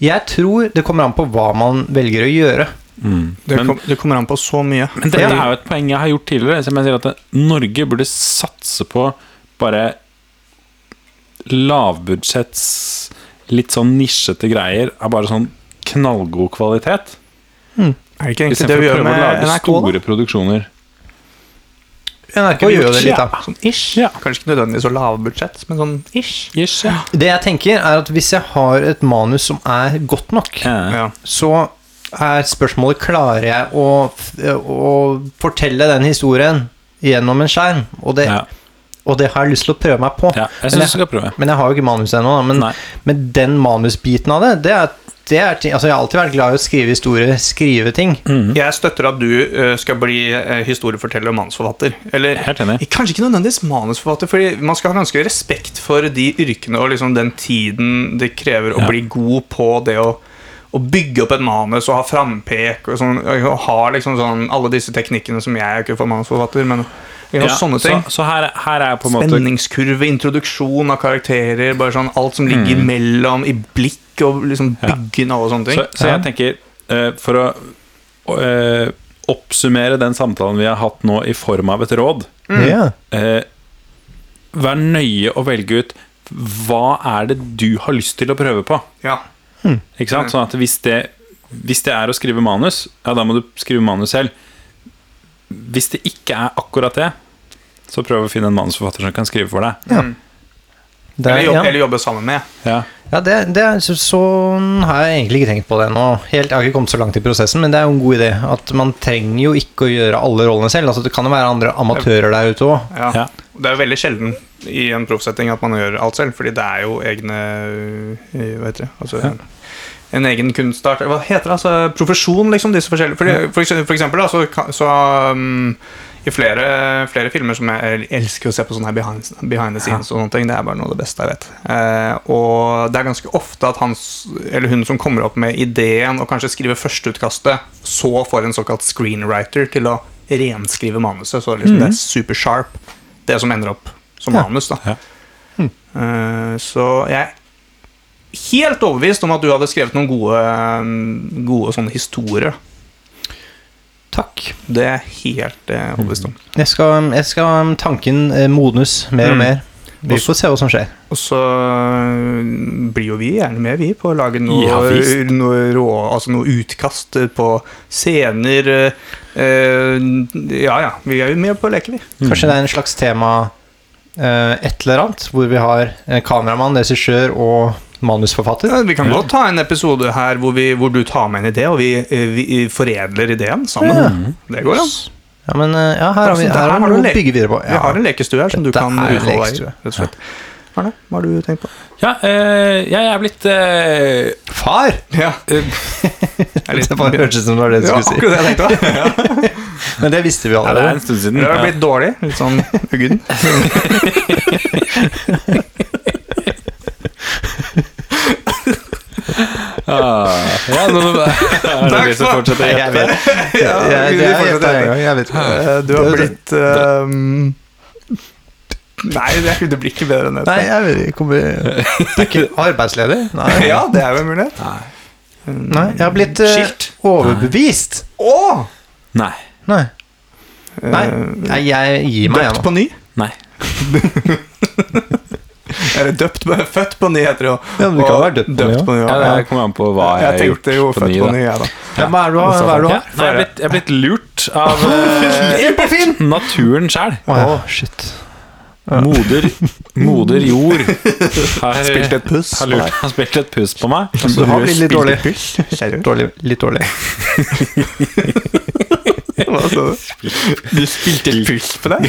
[SPEAKER 2] Jeg tror det kommer an på hva man velger å gjøre.
[SPEAKER 3] mm.
[SPEAKER 1] Det,
[SPEAKER 3] Men-
[SPEAKER 1] kom, det kommer an på så mye.
[SPEAKER 3] Men dette er jo et poeng jeg har gjort tidligere. Som jeg sier at det- Norge burde satse på bare lavbudsjetts, litt sånn nisjete greier av bare sånn knallgod kvalitet.
[SPEAKER 1] Er det ikke egentlig det
[SPEAKER 3] Istedenfor
[SPEAKER 1] vi
[SPEAKER 3] å
[SPEAKER 1] gjør
[SPEAKER 3] prøve å
[SPEAKER 1] med
[SPEAKER 3] lage
[SPEAKER 1] NRK, da?
[SPEAKER 3] store produksjoner.
[SPEAKER 2] NRK gjør jo det litt, da.
[SPEAKER 1] Sånn ish.
[SPEAKER 3] Ja.
[SPEAKER 1] Kanskje ikke nødvendigvis så lavbudsjett, men sånn ish.
[SPEAKER 3] Ish, ja.
[SPEAKER 2] Det jeg tenker, er at hvis jeg har et manus som er godt nok,
[SPEAKER 3] Ja.
[SPEAKER 1] Ja.
[SPEAKER 2] så er spørsmålet klarer jeg å, f- å fortelle den historien gjennom en skjerm. Og det,
[SPEAKER 3] Ja.
[SPEAKER 2] og det har jeg lyst til å prøve meg på.
[SPEAKER 3] Ja. Jeg
[SPEAKER 2] Men
[SPEAKER 3] syns du skal prøve.
[SPEAKER 2] Men jeg har jo ikke manus ennå, da. Men,
[SPEAKER 3] Nei.
[SPEAKER 2] men den manusbiten av det, det er, det er ting Altså, jeg har alltid vært glad i å skrive historier, skrive ting.
[SPEAKER 3] Mm. Mhm.
[SPEAKER 1] Jeg støtter at du eh, skal bli eh, historieforteller og manusforfatter. Eller
[SPEAKER 3] Helt enig.
[SPEAKER 1] kanskje ikke nødvendigvis manusforfatter, fordi man skal ha ganske respekt for de yrkene og liksom den tiden det krever å
[SPEAKER 3] Ja.
[SPEAKER 1] bli god på det å å bygge opp et manus og ha frampek og, sånn, og ha liksom sånn alle disse teknikkene som jeg er jo ikke for manusforfatter, men jeg har
[SPEAKER 3] Ja,
[SPEAKER 1] sånne ting.
[SPEAKER 3] Så, så her, her er på en måte
[SPEAKER 1] Spenningskurve, introduksjon av karakterer, bare sånn alt som ligger
[SPEAKER 3] Mm.
[SPEAKER 1] imellom, i blikk og liksom byggen og alle sånne ting.
[SPEAKER 3] Så, så jeg tenker, eh, for å eh, oppsummere den samtalen vi har hatt nå i form av et råd
[SPEAKER 1] Mm.
[SPEAKER 2] Ja.
[SPEAKER 3] eh, Vær nøye å velge ut hva er det du har lyst til å prøve på.
[SPEAKER 1] ja.
[SPEAKER 3] Ikke sant? Sånn at hvis det, hvis det er å skrive manus, ja, da må du skrive manus selv. Hvis det ikke er akkurat det, så prøv å finne en manusforfatter som kan skrive for deg.
[SPEAKER 2] Det
[SPEAKER 1] eller,
[SPEAKER 2] er,
[SPEAKER 1] jobbe,
[SPEAKER 2] ja.
[SPEAKER 1] eller jobbe sammen med.
[SPEAKER 3] Ja.
[SPEAKER 2] Ja, det, det er, så, sånn har jeg egentlig ikke tenkt på det ennå. Helt- Jeg har ikke kommet så langt i prosessen, men det er jo en god idé. At man trenger jo ikke å gjøre alle rollene selv. Altså, det kan jo være andre amatører der ute òg.
[SPEAKER 1] Ja.
[SPEAKER 3] Ja.
[SPEAKER 1] Det er jo veldig sjelden i en proffsetting at man gjør alt selv, fordi det er jo egne øh, Hva heter det? Altså, En egen kunstart Hva heter det? Altså, profesjon, liksom, disse forskjellige fordi, for, ekse- for eksempel, da, så, kan- så um, i flere, flere filmer som jeg jeg elsker å se på sånne her behind, behind the scenes og sånne ting, det er bare noe av det beste jeg vet. Eh, og det er ganske ofte at han s- eller hun som kommer opp med ideen og kanskje skriver førsteutkastet, så får en såkalt screenwriter til å renskrive manuset. Så liksom det er super sharp, det som ender opp som
[SPEAKER 2] Ja.
[SPEAKER 1] manus. da
[SPEAKER 3] Ja.
[SPEAKER 1] Eh, Så jeg er helt overbevist om at du hadde skrevet noen gode, mm, gode sånne historier.
[SPEAKER 2] Takk.
[SPEAKER 1] Det er jeg helt eh, overbevist om.
[SPEAKER 2] Jeg skal, jeg skal tanken eh, modnes mer
[SPEAKER 1] Mm.
[SPEAKER 2] og mer. Vi
[SPEAKER 1] Også-
[SPEAKER 2] får se hva som skjer.
[SPEAKER 1] Og så øh, blir jo vi gjerne med, vi, på å lage noe,
[SPEAKER 3] Ja, visst.
[SPEAKER 1] noe, rå, altså noe utkast øh, på scener. øh, øh, ja, ja. Vi er jo med på å leke, vi.
[SPEAKER 2] Kanskje det er en slags tema eh, et eller annet, hvor vi har eh, kameramann, regissør og manusforfatter.
[SPEAKER 1] Ja, vi kan godt ta en episode her hvor, vi, hvor du tar med en idé, og vi, øh, vi foredler ideen sammen. Hm. Det går an.
[SPEAKER 2] Ja, men eh, ja, her har vi
[SPEAKER 1] Altså, det
[SPEAKER 2] her
[SPEAKER 1] her
[SPEAKER 2] har
[SPEAKER 1] har
[SPEAKER 2] vi
[SPEAKER 1] du
[SPEAKER 2] noe å
[SPEAKER 1] lek-
[SPEAKER 2] bygge videre på.
[SPEAKER 1] Vi har en lekestue her som du
[SPEAKER 2] Dette
[SPEAKER 1] kan
[SPEAKER 2] er en
[SPEAKER 1] utfolde deg i.
[SPEAKER 2] lekestue.
[SPEAKER 1] Rett og slett. Arne, hva har du tenkt på?
[SPEAKER 3] Ja, eh, jeg er blitt eh,
[SPEAKER 1] <laughs>
[SPEAKER 2] Far! <laughs>
[SPEAKER 1] Ja,
[SPEAKER 2] Det bare hørtes ut som det var det du
[SPEAKER 1] ja
[SPEAKER 2] skulle si.
[SPEAKER 1] akkurat det jeg tenkte på. Ja.
[SPEAKER 2] Men det visste vi
[SPEAKER 3] ja, Det er en
[SPEAKER 2] allerede.
[SPEAKER 3] stund siden.
[SPEAKER 1] Jeg har
[SPEAKER 3] Ja.
[SPEAKER 1] blitt dårlig. Litt sånn uggen.
[SPEAKER 2] <laughs>
[SPEAKER 3] Ah, ja, nå, er det
[SPEAKER 1] Takk
[SPEAKER 3] de som
[SPEAKER 1] for-
[SPEAKER 3] fortsetter å
[SPEAKER 2] Jeg
[SPEAKER 3] gjette.
[SPEAKER 2] vet
[SPEAKER 1] Ja, vi-
[SPEAKER 2] Jeg-
[SPEAKER 1] vi
[SPEAKER 2] jeg- jeg
[SPEAKER 1] fortsetter
[SPEAKER 2] gjetter en
[SPEAKER 1] etter.
[SPEAKER 2] gang, jeg vet ikke.
[SPEAKER 1] Eh, Du har
[SPEAKER 2] Det-
[SPEAKER 1] blitt ehm, Nei, det, det blir ikke bedre enn dette.
[SPEAKER 2] Nei, jeg vet
[SPEAKER 1] <laughs>
[SPEAKER 2] ikke. kommer- Er ikke Arbeidsledig? Nei.
[SPEAKER 1] Ja, det er jo en mulighet.
[SPEAKER 3] Nei.
[SPEAKER 2] Nei, jeg har blitt eh,
[SPEAKER 1] Skilt.
[SPEAKER 2] overbevist.
[SPEAKER 1] Å!
[SPEAKER 3] Nei.
[SPEAKER 2] Nei. Nei,
[SPEAKER 1] Eh,
[SPEAKER 2] Nei, jeg gir meg, jeg
[SPEAKER 1] Døpt
[SPEAKER 2] nå.
[SPEAKER 1] på ny?
[SPEAKER 3] Nei.
[SPEAKER 1] Eller døpt på, <laughs> født på ny, heter det jo.
[SPEAKER 2] Ja, men det kan
[SPEAKER 1] Og
[SPEAKER 2] være døpt på ny, ja.
[SPEAKER 1] ja.
[SPEAKER 3] Ja, det kommer an på hva jeg,
[SPEAKER 1] jeg
[SPEAKER 3] har gjort
[SPEAKER 1] tenkte jo
[SPEAKER 3] på
[SPEAKER 1] født
[SPEAKER 3] ny.
[SPEAKER 1] på
[SPEAKER 3] da.
[SPEAKER 1] ny, jeg, da.
[SPEAKER 2] Ja, Hva er det du har? Hva er det du har?
[SPEAKER 3] Ja, nei, jeg, er blitt, jeg er blitt lurt av eh,
[SPEAKER 2] Inn på Finn!
[SPEAKER 3] naturen sjæl.
[SPEAKER 2] Å ja, shit.
[SPEAKER 3] Moder, moder jord
[SPEAKER 2] <laughs>
[SPEAKER 3] har,
[SPEAKER 1] Spilt et puss.
[SPEAKER 3] har lurt. Han spilte et puss på meg.
[SPEAKER 2] Så <laughs> du har blitt litt dårlig. <laughs>
[SPEAKER 1] Seriøst?
[SPEAKER 2] dårlig. Litt dårlig.
[SPEAKER 1] Hva sa du? Du spilte et puss på deg?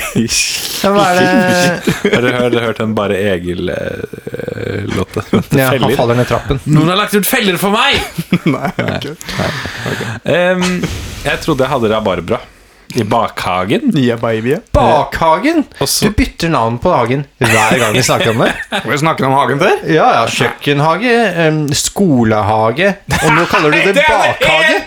[SPEAKER 2] Ja, hva er det
[SPEAKER 3] Har dere hørt, hørt den Bare eh, Egil-låta?
[SPEAKER 2] ja, Han faller ned trappen.
[SPEAKER 3] Noen har lagt ut feller for meg!
[SPEAKER 1] <laughs> Nei, ok.
[SPEAKER 3] Em, jeg trodde jeg hadde rabarbra i bakhagen.
[SPEAKER 1] Ja, baby.
[SPEAKER 2] Bakhagen! Du
[SPEAKER 3] Og så
[SPEAKER 2] bytter navn på hagen hver gang
[SPEAKER 1] <laughs>
[SPEAKER 2] vi snakker om det.
[SPEAKER 1] Har vi snakket om hagen før?
[SPEAKER 2] Ja, ja, kjøkkenhage, em, skolehage Og nå kaller du <laughs> det bakhage?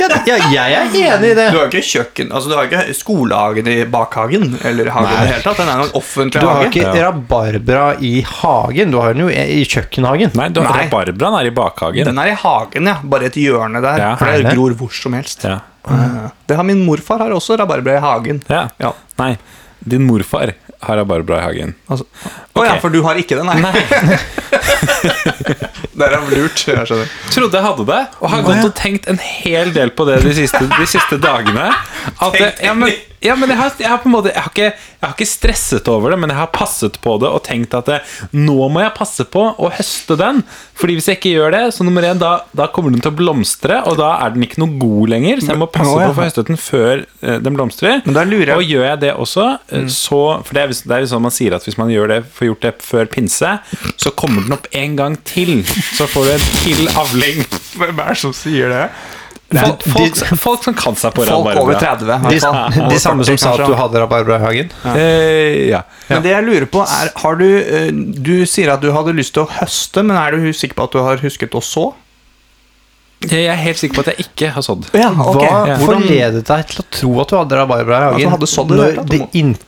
[SPEAKER 2] Ja, ja, jeg er enig i det.
[SPEAKER 1] Du har ikke kjøkken, altså du har ikke skolehagen i bakhagen, eller hagen i
[SPEAKER 2] Nei.
[SPEAKER 1] det hele tatt. Den er jo en offentlig
[SPEAKER 2] Du har
[SPEAKER 1] hage.
[SPEAKER 2] ikke rabarbra i hagen, du har den jo i i kjøkkenhagen.
[SPEAKER 3] Nei, du,
[SPEAKER 1] Nei.
[SPEAKER 3] rabarbraen er i bakhagen.
[SPEAKER 1] Den er i hagen, ja. Bare et hjørne der.
[SPEAKER 3] Ja,
[SPEAKER 1] for
[SPEAKER 2] er
[SPEAKER 1] det
[SPEAKER 2] det?
[SPEAKER 1] gror hvor som helst.
[SPEAKER 3] Ja.
[SPEAKER 1] Eh, Det har min morfar har også rabarbra i hagen.
[SPEAKER 3] Ja.
[SPEAKER 1] Ja.
[SPEAKER 3] Nei, din morfar har rabarbra i hagen.
[SPEAKER 1] Altså. Å ja,
[SPEAKER 3] Ok.
[SPEAKER 1] for du har ikke det, nei. <laughs> Der er han lurt. Jeg skjønner.
[SPEAKER 3] Trodde jeg hadde det, og har gått og tenkt en hel del på det de siste, de siste dagene. At jeg, ja, men, ja, men jeg, har, jeg har på en måte jeg har, ikke, jeg har ikke stresset over det, men jeg har passet på det og tenkt at eh, nå må jeg passe på å høste den. Fordi hvis jeg ikke gjør det, så nummer én, da, da kommer den til å blomstre, og da er den ikke noe god lenger. Så jeg må passe
[SPEAKER 1] Å, ja.
[SPEAKER 3] på å få høstet den før eh, den blomstrer.
[SPEAKER 1] Men da lurer jeg- Mm.
[SPEAKER 3] Og gjør jeg det også, eh, så For det er, vis- det er jo sånn man sier at hvis man gjør det, får gjort det før pinse, så kommer den opp en gang til. Så får du en til avling.
[SPEAKER 1] Hvem er det som sier det?
[SPEAKER 3] Folk,
[SPEAKER 2] de-
[SPEAKER 3] folk, folk som kan seg på
[SPEAKER 1] Folk
[SPEAKER 3] rabarbra.
[SPEAKER 1] over 30. i
[SPEAKER 2] De,
[SPEAKER 1] hvert fall.
[SPEAKER 2] de samme som sa at du
[SPEAKER 1] Kanskje.
[SPEAKER 2] hadde rabarbra i hagen.
[SPEAKER 3] Eh, ja.
[SPEAKER 1] Men det jeg lurer på er har du, eh, du sier at du hadde lyst til å høste, men er du sikker på at du har husket å så?
[SPEAKER 3] Jeg er helt sikker på at jeg ikke har sådd.
[SPEAKER 1] Ja, ok.
[SPEAKER 2] Hva
[SPEAKER 1] Ja. Hvordan-
[SPEAKER 2] forledet deg til å tro at du hadde rabarbra i
[SPEAKER 1] At du
[SPEAKER 2] hagen
[SPEAKER 1] hadde sådd i det
[SPEAKER 2] når
[SPEAKER 1] hele tatt,
[SPEAKER 2] det
[SPEAKER 1] Mo?
[SPEAKER 2] intet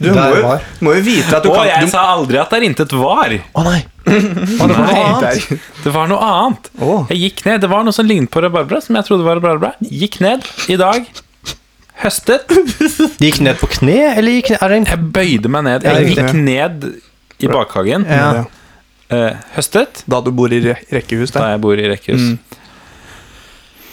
[SPEAKER 1] Du må
[SPEAKER 2] der
[SPEAKER 1] jo,
[SPEAKER 2] var?
[SPEAKER 1] må jo vite at du
[SPEAKER 3] Og
[SPEAKER 1] kan
[SPEAKER 3] jeg
[SPEAKER 1] du,
[SPEAKER 3] sa aldri at der intet var.
[SPEAKER 2] Å nei! Å, det var noe
[SPEAKER 3] Nei,
[SPEAKER 2] annet.
[SPEAKER 1] der.
[SPEAKER 3] Det var noe annet.
[SPEAKER 1] Å.
[SPEAKER 3] Jeg gikk ned. Det var noe som lignet på rabarbra, som jeg trodde var rabarbra. Gikk ned i dag. Høstet.
[SPEAKER 2] Gikk ned på kne, eller gikk ned, er det en
[SPEAKER 3] Jeg bøyde meg ned.
[SPEAKER 2] Ja,
[SPEAKER 3] Jeg
[SPEAKER 1] riktig.
[SPEAKER 3] gikk ned i bakhagen.
[SPEAKER 2] Ja.
[SPEAKER 3] Eh, høstet.
[SPEAKER 1] Da du bor i re rekkehus
[SPEAKER 3] Da
[SPEAKER 1] der.
[SPEAKER 3] jeg bor i rekkehus.
[SPEAKER 1] Mm.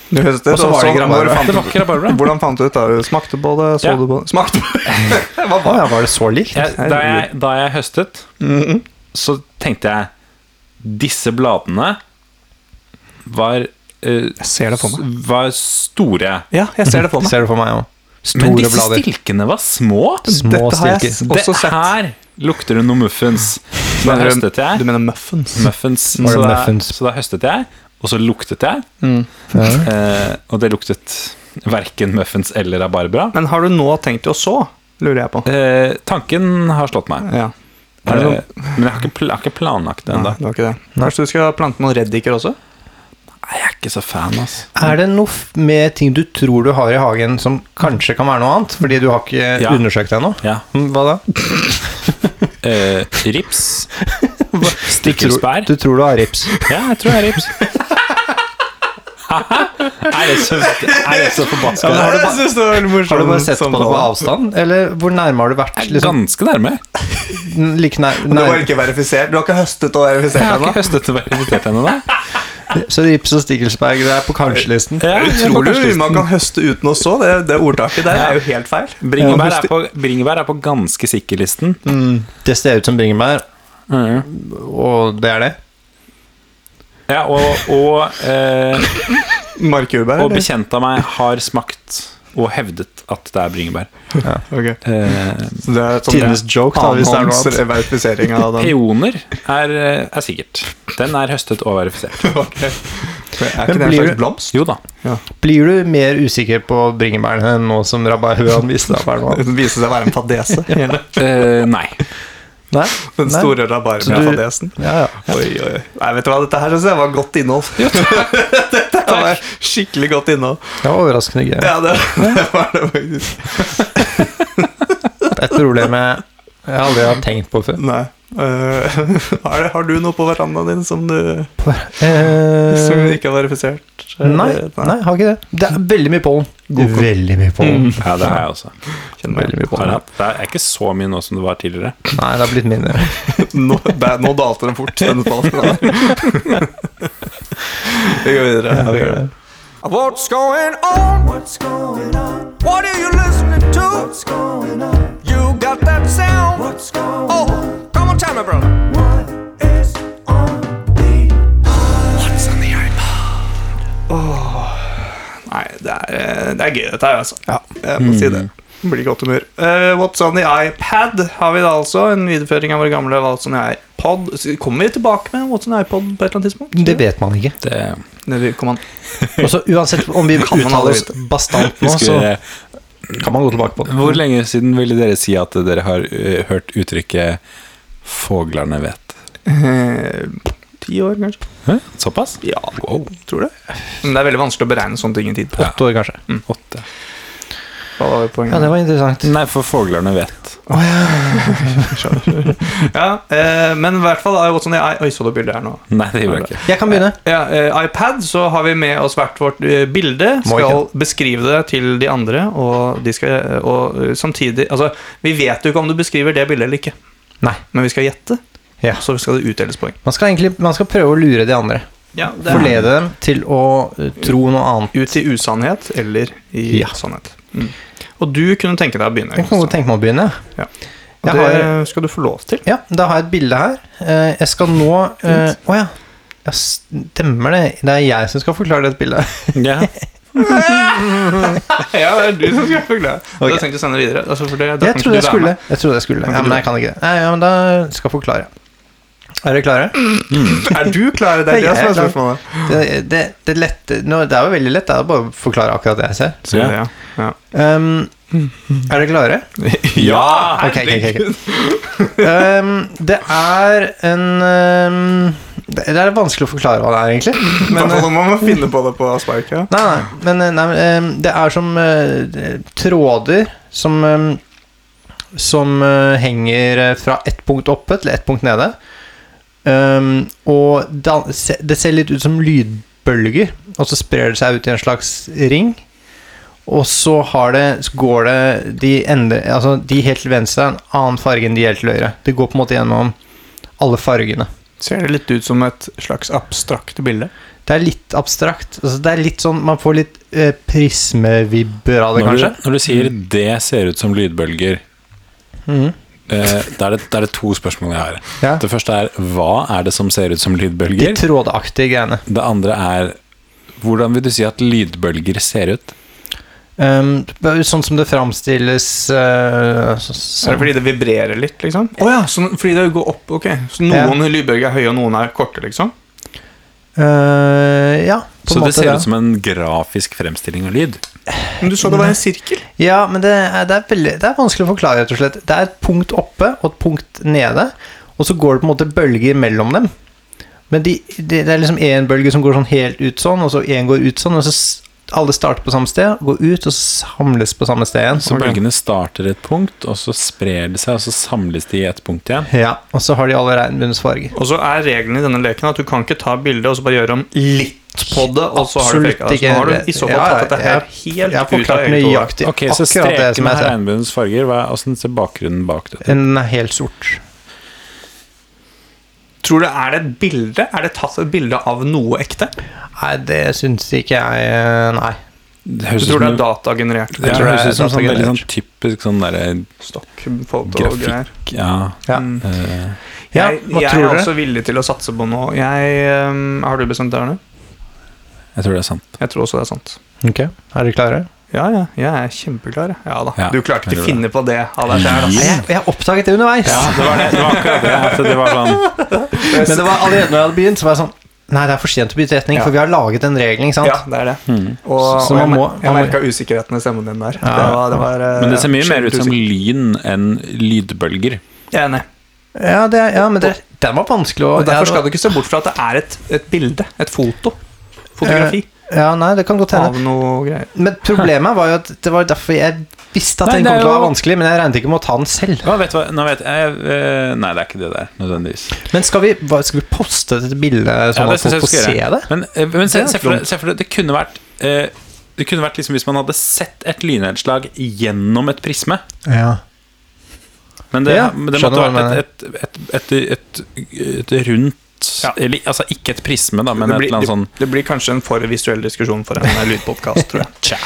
[SPEAKER 1] Du høstet,
[SPEAKER 2] Og så var det ikke rabarbra.
[SPEAKER 1] fant
[SPEAKER 3] Det
[SPEAKER 1] du-
[SPEAKER 3] var ikke rabarbra.
[SPEAKER 1] Hvordan fant du ut da? Smakte på det, så
[SPEAKER 3] Ja.
[SPEAKER 1] du på det Smakte på det! <laughs> Hva
[SPEAKER 2] Å
[SPEAKER 1] var det?
[SPEAKER 2] ja, var det så likt?
[SPEAKER 3] Jeg, da, jeg, da jeg høstet,
[SPEAKER 1] Mhm.
[SPEAKER 3] så tenkte jeg Disse bladene var eh,
[SPEAKER 1] Jeg ser det for meg.
[SPEAKER 3] s- Var store.
[SPEAKER 1] Ja, jeg ser det for meg.
[SPEAKER 2] <laughs> Ser du for meg òg.
[SPEAKER 3] Men
[SPEAKER 2] Store
[SPEAKER 3] disse
[SPEAKER 2] blader.
[SPEAKER 3] stilkene var små.
[SPEAKER 2] Små
[SPEAKER 1] Dette har jeg
[SPEAKER 2] stilker.
[SPEAKER 1] også
[SPEAKER 3] det
[SPEAKER 1] sett.
[SPEAKER 3] her lukter det noe muffins. Så da
[SPEAKER 1] Mener du-
[SPEAKER 3] høstet jeg.
[SPEAKER 1] Du mener muffins?
[SPEAKER 2] Mm.
[SPEAKER 3] Muffins. Så
[SPEAKER 2] Var det
[SPEAKER 3] da,
[SPEAKER 2] muffins?
[SPEAKER 3] så da høstet jeg, og så luktet jeg.
[SPEAKER 1] Mm.
[SPEAKER 2] Ja.
[SPEAKER 3] Eh, og det luktet verken muffins eller rabarbra.
[SPEAKER 1] Men har du nå tenkt å så? Lurer jeg på.
[SPEAKER 3] Eh, tanken har slått meg.
[SPEAKER 1] Ja.
[SPEAKER 3] Eh,
[SPEAKER 1] Er det sånn?
[SPEAKER 3] men jeg har ikke, pl jeg har ikke planlagt det
[SPEAKER 1] Nei,
[SPEAKER 3] ennå.
[SPEAKER 1] det var ikke det.
[SPEAKER 2] Nei.
[SPEAKER 1] Kanskje du skal plante noen reddiker også?
[SPEAKER 3] Jeg er ikke så fan, altså.
[SPEAKER 2] Er det noe f- med ting du tror du har i hagen som kanskje kan være noe annet? Fordi du har ikke
[SPEAKER 3] Ja.
[SPEAKER 2] undersøkt det ennå?
[SPEAKER 3] Ja.
[SPEAKER 2] Mm, Hva da?
[SPEAKER 3] Eh, rips. Stikkelsbær.
[SPEAKER 2] Du tror du
[SPEAKER 1] <laughs>
[SPEAKER 2] har rips.
[SPEAKER 3] Ja, jeg tror jeg er rips. er det så, er det så forbaska?
[SPEAKER 2] men har du
[SPEAKER 1] Jeg
[SPEAKER 2] ba-
[SPEAKER 1] synes det var veldig morsomt. sånn
[SPEAKER 2] Har du bare sett på det på
[SPEAKER 1] samtale.
[SPEAKER 2] avstand, eller hvor nærme har du vært?
[SPEAKER 3] Jeg er
[SPEAKER 2] Liksom,
[SPEAKER 3] ganske nærme.
[SPEAKER 2] n-
[SPEAKER 1] <laughs>
[SPEAKER 2] like nær,
[SPEAKER 1] Du har
[SPEAKER 2] nær.
[SPEAKER 1] ikke verifisert? Du har ikke høstet og
[SPEAKER 3] Jeg har
[SPEAKER 1] verifisert
[SPEAKER 3] ikke
[SPEAKER 1] ennå?
[SPEAKER 3] høstet og verifisert ennå. da.
[SPEAKER 2] Så rips og stikkelsberg det er på kanskje-listen.
[SPEAKER 3] Ja, jeg får
[SPEAKER 1] Tror
[SPEAKER 3] kanskje
[SPEAKER 1] du
[SPEAKER 3] lyst.
[SPEAKER 1] man kan høste uten å så? Det, det ordtaket der er jo helt feil.
[SPEAKER 3] Bringebær er, på, bringebær er på ganske sikker-listen.
[SPEAKER 2] Det ser ut som bringebær,
[SPEAKER 3] Mhm.
[SPEAKER 2] og det er det.
[SPEAKER 3] Ja, og, og, eh,
[SPEAKER 1] Markjordbær,
[SPEAKER 3] og
[SPEAKER 1] eller?
[SPEAKER 3] bekjent av meg har smakt og hevdet at det er bringebær.
[SPEAKER 1] Ok.
[SPEAKER 3] Eh,
[SPEAKER 1] Så Det er sånn
[SPEAKER 2] Tidenes joke, da, hvis det er noe annet.
[SPEAKER 1] Annenhåndsverifisering av
[SPEAKER 2] <laughs>
[SPEAKER 3] Sånn.
[SPEAKER 1] den.
[SPEAKER 3] peoner er, eh, er sikkert. Den er høstet og verifisert.
[SPEAKER 1] Ok. Er
[SPEAKER 2] Men
[SPEAKER 1] ikke det en
[SPEAKER 2] blir
[SPEAKER 1] slags
[SPEAKER 2] du-
[SPEAKER 1] blomst?
[SPEAKER 3] Jo da.
[SPEAKER 2] Blir du mer usikker på bringebærene nå som rabarbraen viste deg å være noe annet?
[SPEAKER 1] Det viser seg å være en
[SPEAKER 2] <laughs>
[SPEAKER 1] fadese.
[SPEAKER 3] Eh, nei.
[SPEAKER 2] Nei?
[SPEAKER 1] Den
[SPEAKER 2] Nei.
[SPEAKER 1] store
[SPEAKER 2] Så du-
[SPEAKER 1] rabarbrafadesen.
[SPEAKER 2] Ja, ja.
[SPEAKER 1] Oi, oi. Nei, vet du hva, dette her synes jeg var godt innhold. <laughs> dette var skikkelig godt innhold.
[SPEAKER 2] Det var overraskende gøy.
[SPEAKER 1] Ja, det, det var det faktisk.
[SPEAKER 2] Det er et problem jeg, jeg aldri har tenkt på før.
[SPEAKER 1] Nei. Eh, <laughs> har, har du noe på verandaen din som du som
[SPEAKER 2] Eh,
[SPEAKER 1] ikke har verifisert? Eh,
[SPEAKER 2] Nei, nei, har ikke det. Det er veldig mye pollen. Veldig mye pollen.
[SPEAKER 3] Ja, det har jeg også.
[SPEAKER 1] Kjenner meg.
[SPEAKER 2] Veldig mye
[SPEAKER 3] Har
[SPEAKER 2] pollen.
[SPEAKER 3] jeg hatt. Det er ikke så mye nå som det var tidligere.
[SPEAKER 2] Nei, det har blitt mindre.
[SPEAKER 1] <laughs> Nå, der, nå dalte den fort, denne spalten her. Vi går videre. Ja, vi gjør <laughs> det.
[SPEAKER 4] What's going on? What's going on? What are you listening to? What's going on? You got that sound? What's going oh, on? Come on, tell me, brother. What is on the What's on the iPod?
[SPEAKER 1] Oh, Nei, det er, eh, det er gøy dette her, altså. Jeg må si det. Det Blir godt humør. Eh, What's on the iPad har vi da altså. En videreføring av vår gamle What's on the iPod. Så Kommer vi tilbake med What's on the iPod på et eller annet tidspunkt?
[SPEAKER 2] Det vet man ikke.
[SPEAKER 3] Det
[SPEAKER 1] Eller kommer han
[SPEAKER 2] Og så Uansett om vi
[SPEAKER 1] Kan man aldri
[SPEAKER 2] uttaler oss bastant nå,
[SPEAKER 3] husker
[SPEAKER 2] så
[SPEAKER 3] dere-
[SPEAKER 2] kan man gå tilbake på det.
[SPEAKER 3] Hvor lenge siden ville dere si at dere har eh, hørt uttrykket 'foglerne vet'?
[SPEAKER 1] eh, Ti år, kanskje?
[SPEAKER 3] Hæ? Såpass?
[SPEAKER 1] Ja,
[SPEAKER 3] Wow.
[SPEAKER 1] tror det. Men det er veldig vanskelig å beregne sånne ting i tid.
[SPEAKER 2] Åtte år, kanskje.
[SPEAKER 3] Åtte.
[SPEAKER 1] Hva var poenget?
[SPEAKER 2] Ja, det var interessant.
[SPEAKER 3] Nei, for foglerne vet.
[SPEAKER 1] ja, eh, men i hvert fall er jo What's on the i... Oi, så du bildet her nå?
[SPEAKER 3] Nei, det gjorde jeg ikke.
[SPEAKER 2] Jeg kan begynne.
[SPEAKER 1] Ja, eh, iPad, så har vi med oss hvert vårt eh, bilde.
[SPEAKER 2] Må
[SPEAKER 1] Skal beskrive det til de andre, og, de skal, og eh, samtidig Altså, vi vet jo ikke om du beskriver det bildet eller ikke,
[SPEAKER 2] Nei.
[SPEAKER 1] men vi skal gjette.
[SPEAKER 2] Ja.
[SPEAKER 1] Så skal det utdeles poeng.
[SPEAKER 2] Man skal egentlig man skal prøve å lure de andre.
[SPEAKER 1] Ja, det er
[SPEAKER 2] Forlede dem til å eh, tro noe annet.
[SPEAKER 1] Ut i usannhet eller i
[SPEAKER 2] Ja.
[SPEAKER 1] sannhet. Mm. Og du kunne tenke deg å begynne.
[SPEAKER 2] Jeg kan godt
[SPEAKER 1] Kristian.
[SPEAKER 2] tenke meg å begynne.
[SPEAKER 1] Ja.
[SPEAKER 2] Jeg
[SPEAKER 1] Og det
[SPEAKER 2] har,
[SPEAKER 1] skal du få lov til.
[SPEAKER 2] ja, da har jeg et bilde her. Eh, Jeg skal nå eh, Å ja. Ja, stemmer det. Det er jeg som skal forklare det bildet.
[SPEAKER 3] Ja.
[SPEAKER 1] Ja, det er du som skal forklare.
[SPEAKER 2] Ok.
[SPEAKER 1] Det har jeg tenkt å sende videre. Altså, for det, da
[SPEAKER 2] Jeg
[SPEAKER 1] kan ikke du
[SPEAKER 2] trodde jeg
[SPEAKER 1] være
[SPEAKER 2] skulle.
[SPEAKER 1] med.
[SPEAKER 2] Jeg trodde jeg skulle.
[SPEAKER 1] Kan ikke du
[SPEAKER 2] Ja, men jeg
[SPEAKER 1] være
[SPEAKER 2] kan ikke det. Nei, ja, men da skal jeg forklare. Er dere klare?
[SPEAKER 1] Er du klar? <laughs> Det er
[SPEAKER 2] Ja,
[SPEAKER 1] det som er
[SPEAKER 2] jeg er
[SPEAKER 1] spørsmålet.
[SPEAKER 2] Det, det, det, lette, nå, det er jo veldig lett. Det er jo bare å forklare akkurat det jeg ser.
[SPEAKER 3] Ja.
[SPEAKER 1] <laughs> Ja.
[SPEAKER 2] Um, er dere klare?
[SPEAKER 1] Ja,
[SPEAKER 2] Ehm, Ok, ok, ok, ok. Um, det er en um, Det det er vanskelig å forklare hva det er, egentlig.
[SPEAKER 1] Men,
[SPEAKER 2] Men, eh,
[SPEAKER 1] Nå må man finne på det på spark. Ja.
[SPEAKER 2] nei, nei, men eh, nei, men, eh, det er som eh, tråder som eh, Som eh, henger eh, fra ett punkt oppe til ett punkt nede. Um, og dan- se- det ser litt ut som lydbølger, og så sprer det seg ut i en slags ring. Og så har det, så går det de, ender, altså de helt til venstre er en annen farge enn de helt til høyre. Det går på en måte gjennom alle fargene.
[SPEAKER 1] Ser det litt ut som et slags abstrakt bilde?
[SPEAKER 2] Det er litt abstrakt. Altså det er litt sånn, Man får litt eh, prismevibber av det,
[SPEAKER 3] Når
[SPEAKER 2] kanskje.
[SPEAKER 3] du, når du sier 'det ser ut som lydbølger',
[SPEAKER 2] Mhm.
[SPEAKER 3] eh, da er det, da er det to spørsmål jeg har.
[SPEAKER 2] Ja.
[SPEAKER 3] Det første er 'hva er det som ser ut som
[SPEAKER 2] De
[SPEAKER 3] lydbølger'?
[SPEAKER 2] trådaktige greiene.
[SPEAKER 3] Det andre er 'hvordan vil du si at lydbølger ser ut'?
[SPEAKER 2] Um, sånn som det framstilles
[SPEAKER 1] Er
[SPEAKER 2] eh, så,
[SPEAKER 1] det
[SPEAKER 2] sånn.
[SPEAKER 1] fordi det vibrerer litt, liksom? Å ja, så, fordi det går opp, ok. Så noen lydbølger er høye, og noen er korte, liksom?
[SPEAKER 2] Eh, Ja, på
[SPEAKER 3] Så
[SPEAKER 2] en måte.
[SPEAKER 3] det ser
[SPEAKER 2] det.
[SPEAKER 3] ut som en grafisk fremstilling av lyd.
[SPEAKER 1] Men du sa det var en sirkel?
[SPEAKER 2] Ja, men det er, det, er veldig, det er vanskelig å forklare, rett og slett. Det er et punkt oppe og et punkt nede, og så går det på en måte bølger mellom dem. Men de, de, det er liksom én bølge som går sånn helt ut sånn, og så én går ut sånn, og så s- alle starter på samme sted, går ut, og så samles på samme sted igjen.
[SPEAKER 3] Så bølgene starter et punkt, og så sprer det seg, og så samles de i et punkt igjen.
[SPEAKER 2] Ja, og så har de alle regnbuens farger.
[SPEAKER 1] Og så er regelen i denne leken at du kan ikke ta bildet og så bare gjøre om litt på det, og så har du fake. Altså, nå har du i så fall
[SPEAKER 2] Ja, ja,
[SPEAKER 1] tatt dette her
[SPEAKER 2] jeg, jeg har
[SPEAKER 1] helt ut av
[SPEAKER 2] forklart
[SPEAKER 1] eget hode.
[SPEAKER 2] nøyaktig
[SPEAKER 3] Ok, så
[SPEAKER 2] akkurat det
[SPEAKER 3] streken
[SPEAKER 2] som
[SPEAKER 3] med
[SPEAKER 2] jeg sa.
[SPEAKER 3] regnbuens farger, hva- åssen ser bakgrunnen bak det ut?
[SPEAKER 2] Den er helt sort.
[SPEAKER 1] Tror du er det et bilde? Er det tatt et bilde av noe ekte?
[SPEAKER 2] Nei, det syns ikke jeg eh, Nei.
[SPEAKER 3] Det
[SPEAKER 1] Du
[SPEAKER 3] høres ut
[SPEAKER 1] tror det
[SPEAKER 3] som
[SPEAKER 1] er datagenerert?
[SPEAKER 3] Ja, det
[SPEAKER 2] tror det
[SPEAKER 3] høres
[SPEAKER 2] er
[SPEAKER 3] ut som sånn
[SPEAKER 2] datagenerert.
[SPEAKER 3] veldig sånn typisk sånn derre
[SPEAKER 1] Stokkfoto og
[SPEAKER 3] Grafikk.
[SPEAKER 1] greier.
[SPEAKER 3] Ja.
[SPEAKER 2] Ja.
[SPEAKER 1] Mm.
[SPEAKER 3] eh,
[SPEAKER 2] Ja,
[SPEAKER 1] Jeg,
[SPEAKER 2] hva
[SPEAKER 1] jeg
[SPEAKER 2] tror
[SPEAKER 1] er
[SPEAKER 2] dere?
[SPEAKER 1] også villig til å satse på noe. Jeg, ehm, har du bestemt deg, Arne?
[SPEAKER 3] jeg tror det er sant.
[SPEAKER 1] Jeg tror også det er sant.
[SPEAKER 2] Ok, Er dere klare?
[SPEAKER 1] Ja, ja, jeg er kjempeklar. jeg. Ja da.
[SPEAKER 3] Ja,
[SPEAKER 1] du klarte ikke
[SPEAKER 3] jeg tror
[SPEAKER 1] å
[SPEAKER 3] det.
[SPEAKER 1] finne på det av deg sjæl.
[SPEAKER 2] Nei, Jeg, jeg oppdaget det underveis.
[SPEAKER 3] Ja, det var, det, det var akkurat <laughs> det. At det var sånn
[SPEAKER 2] <laughs> Men det var allerede når jeg hadde begynt, så var jeg sånn Nei, det er for sent å bytte retning,
[SPEAKER 1] Ja.
[SPEAKER 2] for vi har laget en regel, ikke sant?
[SPEAKER 1] Ja, det er det.
[SPEAKER 3] Hmm.
[SPEAKER 1] Og,
[SPEAKER 2] Så- så
[SPEAKER 1] og jeg,
[SPEAKER 2] man må-
[SPEAKER 1] mer- jeg
[SPEAKER 2] man må-
[SPEAKER 1] merka usikkerheten i stemmen din der.
[SPEAKER 2] Ja.
[SPEAKER 1] det var, det var, eh,
[SPEAKER 3] Men det ser mye mer ut som
[SPEAKER 1] usikker.
[SPEAKER 3] lyn enn lydbølger.
[SPEAKER 1] Jeg er enig.
[SPEAKER 2] Ja, det, er- ja men det, den var vanskelig å
[SPEAKER 1] Og
[SPEAKER 2] ja,
[SPEAKER 1] derfor
[SPEAKER 2] det
[SPEAKER 1] skal
[SPEAKER 2] var-
[SPEAKER 1] du ikke se bort fra at det er et, et bilde. Et foto. Fotografi
[SPEAKER 2] Ja, nei, det kan godt
[SPEAKER 1] av
[SPEAKER 2] hende.
[SPEAKER 1] noe greier.
[SPEAKER 2] Men problemet var jo at det var derfor jeg visste at
[SPEAKER 3] Nei,
[SPEAKER 2] den
[SPEAKER 3] det er
[SPEAKER 2] kom til å
[SPEAKER 3] jo-
[SPEAKER 2] være vanskelig, men jeg regnet ikke med å ta den selv.
[SPEAKER 3] Å, vet du hva? Nå vet jeg eh, Nei, det er ikke det der, nødvendigvis.
[SPEAKER 2] Men skal vi, hva, skal vi poste dette bildet sånn
[SPEAKER 3] Ja,
[SPEAKER 2] at folk
[SPEAKER 3] synes
[SPEAKER 2] får
[SPEAKER 3] jeg
[SPEAKER 2] se
[SPEAKER 3] du skal
[SPEAKER 2] det?
[SPEAKER 3] gjøre. Men, eh, men se,
[SPEAKER 1] Det er
[SPEAKER 3] se, for deg, se for deg, det kunne vært eh, Det kunne vært liksom hvis man hadde sett et lynnedslag gjennom et prisme.
[SPEAKER 2] Ja.
[SPEAKER 3] Men det,
[SPEAKER 2] Ja,
[SPEAKER 3] men det
[SPEAKER 2] skjønner hva
[SPEAKER 3] måtte
[SPEAKER 2] du
[SPEAKER 3] vært et, et, et, et, et, et rundt
[SPEAKER 1] Ja.
[SPEAKER 3] eller, Altså ikke et prisme, da, men
[SPEAKER 1] det,
[SPEAKER 3] et
[SPEAKER 1] blir,
[SPEAKER 3] eller annet
[SPEAKER 1] det,
[SPEAKER 3] sånn
[SPEAKER 1] det blir kanskje en for visuell diskusjon for en eh, lydpodkast,
[SPEAKER 2] <laughs>
[SPEAKER 1] tror jeg.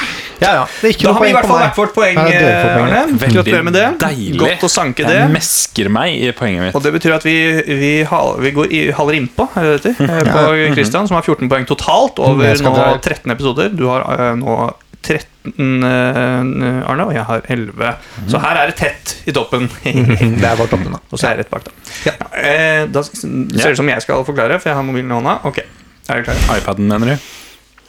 [SPEAKER 2] ja, ja. Det er ikke
[SPEAKER 1] Da
[SPEAKER 2] noe
[SPEAKER 1] har vi i hvert
[SPEAKER 2] poeng på
[SPEAKER 1] fall
[SPEAKER 2] meg.
[SPEAKER 1] hvert vårt poeng, eh,
[SPEAKER 2] Ja, dere får poeng.
[SPEAKER 1] Arne. Gratulerer med det.
[SPEAKER 3] deilig.
[SPEAKER 1] Godt å sanke det.
[SPEAKER 3] Jeg mesker meg i poenget mitt.
[SPEAKER 1] Og det betyr at vi, vi, hal, vi går i, haler innpå er det det heter, eh, på Christian, som har 14 poeng totalt
[SPEAKER 2] Mhm. Jeg
[SPEAKER 1] over
[SPEAKER 2] skal
[SPEAKER 1] nå
[SPEAKER 2] dra ut.
[SPEAKER 1] 13 episoder. Du har eh, nå 13, eh, Arne, og jeg har 11.
[SPEAKER 2] Mhm.
[SPEAKER 1] Så her er det tett i toppen.
[SPEAKER 2] Det er bare toppen, da.
[SPEAKER 1] <laughs> og så er jeg rett bak, da. Eh, Da s-
[SPEAKER 3] Ja.
[SPEAKER 1] ser det ut som jeg skal forklare, for jeg har mobilen i hånda. Ok, er dere klare?
[SPEAKER 3] iPaden, mener du?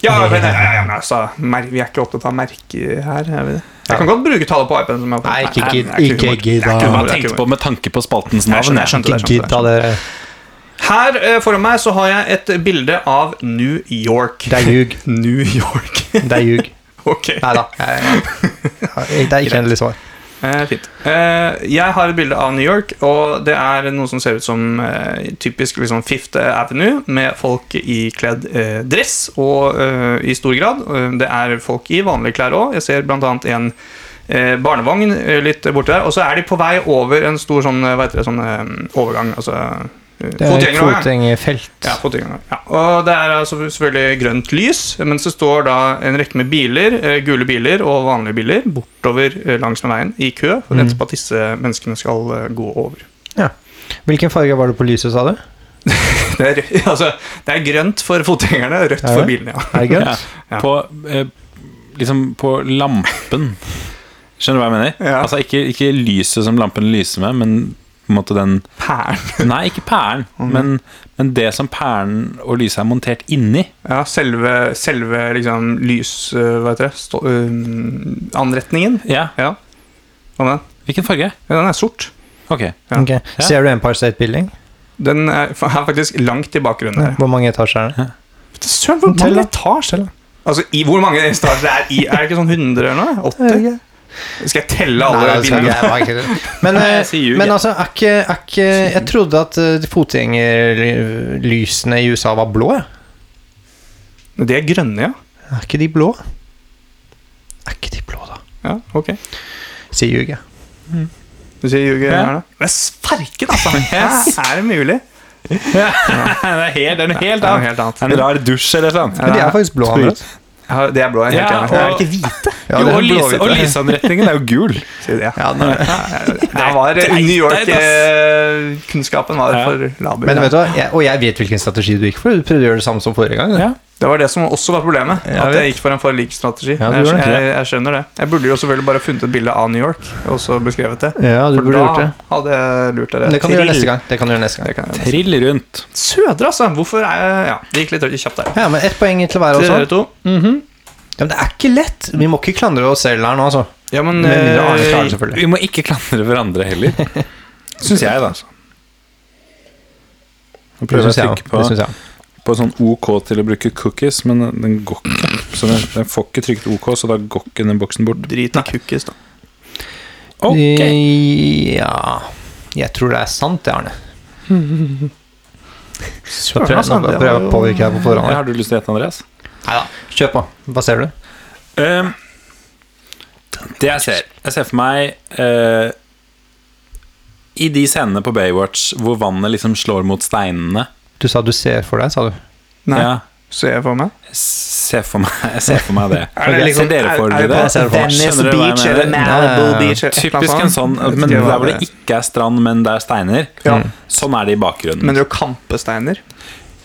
[SPEAKER 1] Ja, men, ja, ja, ja, men altså, mer, vi er ikke opptatt av merker her, er vi det? Jeg kan godt bruke tallet på iPaden. som jeg-
[SPEAKER 2] Nei, ikke gidd.
[SPEAKER 1] det er humor. Det er
[SPEAKER 2] Ikke gidd, da.
[SPEAKER 1] ikke
[SPEAKER 3] Jeg
[SPEAKER 1] humor,
[SPEAKER 3] bare
[SPEAKER 1] det er ikke
[SPEAKER 3] tenkte
[SPEAKER 1] humor.
[SPEAKER 3] på med tanke på spaltens
[SPEAKER 1] Jeg
[SPEAKER 3] navn.
[SPEAKER 1] skjønner, jeg
[SPEAKER 3] Jeg
[SPEAKER 1] skjønte det, jeg
[SPEAKER 2] Ikke
[SPEAKER 1] skjønte det.
[SPEAKER 2] gidd av dere.
[SPEAKER 1] Her eh, foran meg så har jeg et bilde av New York.
[SPEAKER 2] Det er ljug.
[SPEAKER 1] New
[SPEAKER 2] <laughs>
[SPEAKER 1] York.
[SPEAKER 2] Det er ljug.
[SPEAKER 1] ok.
[SPEAKER 2] Nei da. Det er ikke endelig svar.
[SPEAKER 1] Eh, fint. Eh, jeg har et bilde av New York, og det er noe som ser ut som eh, typisk liksom Fifth Avenue, med folk ikledd eh, dress og eh, i stor grad. Eh, Det er folk i vanlige klær òg. Jeg ser bl.a. en eh, barnevogn eh, litt borti der. Og så er de på vei over en stor sånn, eh, hva heter det, sånn eh, overgang. Altså eh,
[SPEAKER 2] Det er
[SPEAKER 1] fotgjengerovergang.
[SPEAKER 2] fotgjengerfelt.
[SPEAKER 1] Ja, på tingene. ja. Og det er altså selvfølgelig grønt lys, mens det står da en rekke med biler, eh, gule biler og vanlige biler, bortover eh, langs med veien i kø, for å vente på at disse menneskene skal eh, gå over. <laughs>
[SPEAKER 2] Hvilken farge var det på lyset, sa du?
[SPEAKER 1] Det er, altså, det er grønt for fotgjengerne, rødt
[SPEAKER 2] Ja,
[SPEAKER 1] for
[SPEAKER 2] ja.
[SPEAKER 1] bilene, ja.
[SPEAKER 2] Er det
[SPEAKER 3] Ja.
[SPEAKER 2] grønt?
[SPEAKER 1] Ja.
[SPEAKER 3] På, eh, liksom på lampen. <laughs> Skjønner du hva jeg mener?
[SPEAKER 1] Ja.
[SPEAKER 3] Altså ikke, ikke lyset som lampen lyser med, men på en måte den <laughs>
[SPEAKER 1] Pæren.
[SPEAKER 3] Nei, ikke pæren, men, men det som pæren og lyset er montert inni.
[SPEAKER 1] Ja, selve, selve liksom lys... eh, Hva heter det? Stå, eh, anretningen.
[SPEAKER 3] Ja,
[SPEAKER 1] Ja. Hva med den?
[SPEAKER 3] Hvilken farge?
[SPEAKER 1] Ja, den er sort.
[SPEAKER 3] Ok. <laughs>
[SPEAKER 1] Ja.
[SPEAKER 2] Ok. Ser du Empire State Building?
[SPEAKER 1] Den er, fa- er faktisk langt i bakgrunnen her.
[SPEAKER 2] Hvor mange etasjer er det?
[SPEAKER 1] Søren, hvor
[SPEAKER 2] Tell,
[SPEAKER 1] mange
[SPEAKER 2] da.
[SPEAKER 1] etasjer? Altså, i, hvor mange etasjer er i? Er det ikke sånn 100 eller noe? 80? Skal jeg telle alle
[SPEAKER 2] Nei, det skal
[SPEAKER 1] vinduene?
[SPEAKER 2] jeg- jeg var ikke det. Men,
[SPEAKER 3] Nei,
[SPEAKER 2] eh,
[SPEAKER 3] jeg sier jo
[SPEAKER 2] men
[SPEAKER 3] ikke.
[SPEAKER 2] altså, er ikke, er ikke Jeg trodde at eh, fotgjengerlysene i USA var blå, jeg.
[SPEAKER 1] De er grønne, ja.
[SPEAKER 2] Er ikke de blå? Er ikke de blå, da?
[SPEAKER 1] Ja, ok.
[SPEAKER 2] Sier ljuger.
[SPEAKER 1] Du sier ljuger
[SPEAKER 3] Ja.
[SPEAKER 1] her, da. Men sverket, altså! Hæ, Er det mulig?
[SPEAKER 3] det er helt, det er
[SPEAKER 1] Det er noe
[SPEAKER 3] noe helt annet.
[SPEAKER 1] helt annet.
[SPEAKER 3] Det er en rar dusj eller noe sånt.
[SPEAKER 2] Men de er faktisk blå.
[SPEAKER 3] Sprit.
[SPEAKER 2] Andreas.
[SPEAKER 1] Ja, det er blå. Jeg er
[SPEAKER 3] Ja,
[SPEAKER 1] helt enig.
[SPEAKER 3] og-
[SPEAKER 1] Er det ikke hvite?
[SPEAKER 2] Ja,
[SPEAKER 3] jo,
[SPEAKER 2] det er
[SPEAKER 3] og,
[SPEAKER 2] blå,
[SPEAKER 3] lyse,
[SPEAKER 2] vet
[SPEAKER 3] og
[SPEAKER 2] du.
[SPEAKER 3] lysanretningen er jo gul.
[SPEAKER 1] Sier de, ja.
[SPEAKER 2] Ja, den er-
[SPEAKER 1] Da var eh, New York-kunnskapen var
[SPEAKER 3] Ja.
[SPEAKER 1] for laber.
[SPEAKER 2] Men vet du hva, jeg, og jeg vet hvilken strategi du gikk for. Du prøvde å gjøre det samme som forrige gang.
[SPEAKER 3] Ja.
[SPEAKER 1] Det var det som også var problemet.
[SPEAKER 2] Jeg
[SPEAKER 1] at
[SPEAKER 2] vet.
[SPEAKER 1] jeg gikk for en for lik strategi.
[SPEAKER 2] Ja, du
[SPEAKER 1] jeg,
[SPEAKER 2] gjorde det.
[SPEAKER 1] jeg, jeg skjønner det. Jeg burde jo selvfølgelig bare funnet et bilde av New York og så beskrevet det.
[SPEAKER 2] Ja, du
[SPEAKER 1] For
[SPEAKER 2] burde
[SPEAKER 1] da
[SPEAKER 2] gjort det.
[SPEAKER 1] hadde jeg lurt dere.
[SPEAKER 2] Det kan du gjøre
[SPEAKER 1] til-
[SPEAKER 2] neste gang. Det kan du gjøre neste gang.
[SPEAKER 1] Det kan jeg gjøre.
[SPEAKER 3] Trill rundt.
[SPEAKER 1] Sødre, altså! Hvorfor er jeg Ja, det gikk litt kjapt der.
[SPEAKER 2] Ja, men ett poeng til hver
[SPEAKER 1] Til dere
[SPEAKER 2] også.
[SPEAKER 1] to.
[SPEAKER 2] Ja, men det er ikke lett! Vi må ikke klandre oss selv her nå, altså.
[SPEAKER 1] Ja, men
[SPEAKER 2] Med mindre Arne klarer det,
[SPEAKER 1] eh,
[SPEAKER 2] selvfølgelig.
[SPEAKER 3] Vi må ikke klandre hverandre <laughs> heller. Syns jeg, da. Nå
[SPEAKER 2] Det
[SPEAKER 3] prøver
[SPEAKER 2] syns
[SPEAKER 3] jeg å
[SPEAKER 2] jeg
[SPEAKER 3] tenke
[SPEAKER 2] også. Det
[SPEAKER 3] på,
[SPEAKER 2] syns jeg også.
[SPEAKER 3] på sånn OK til å bruke cookies, men den- den går ikke. Så den, den får ikke trykt OK, så da går ikke den boksen bort.
[SPEAKER 1] Drit i cookies, da.
[SPEAKER 3] Ok,
[SPEAKER 2] Eh, Ja Jeg tror det er sant, det, Arne. Så prøver jeg
[SPEAKER 1] altså,
[SPEAKER 2] nå
[SPEAKER 1] det
[SPEAKER 2] prøver jeg
[SPEAKER 1] var
[SPEAKER 2] å
[SPEAKER 1] jo-
[SPEAKER 2] påvirke deg på
[SPEAKER 3] Ja,
[SPEAKER 2] forhånd.
[SPEAKER 3] Har du lyst til å gjette, Andreas?
[SPEAKER 2] Nei da. Kjør på. Hva ser du?
[SPEAKER 3] Ehm, det jeg ser Jeg ser for meg eh, I de scenene på Baywatch hvor vannet liksom slår mot steinene
[SPEAKER 2] Du sa du ser for deg, sa du.
[SPEAKER 1] Nei,
[SPEAKER 3] ja, Mm.
[SPEAKER 1] ser jeg for meg.
[SPEAKER 3] jeg ser for meg, jeg ser for meg det.
[SPEAKER 1] Er det liksom-
[SPEAKER 3] ser dere for
[SPEAKER 1] er-
[SPEAKER 3] dere
[SPEAKER 1] er det
[SPEAKER 3] det?
[SPEAKER 1] på
[SPEAKER 2] ser det for meg.
[SPEAKER 1] Venice
[SPEAKER 3] Skjønner dere hva jeg
[SPEAKER 1] Beach eller
[SPEAKER 3] mener?
[SPEAKER 2] Ja, ja,
[SPEAKER 1] Malibu
[SPEAKER 2] ja.
[SPEAKER 1] Beach eller et eller annet
[SPEAKER 3] Typisk en sånn,
[SPEAKER 1] Jeg vet
[SPEAKER 3] men
[SPEAKER 1] ikke
[SPEAKER 3] der
[SPEAKER 1] hva
[SPEAKER 3] hvor det ikke er strand, men det er steiner.
[SPEAKER 1] Ja.
[SPEAKER 3] Sånn er det i bakgrunnen.
[SPEAKER 1] Mener du kampesteiner?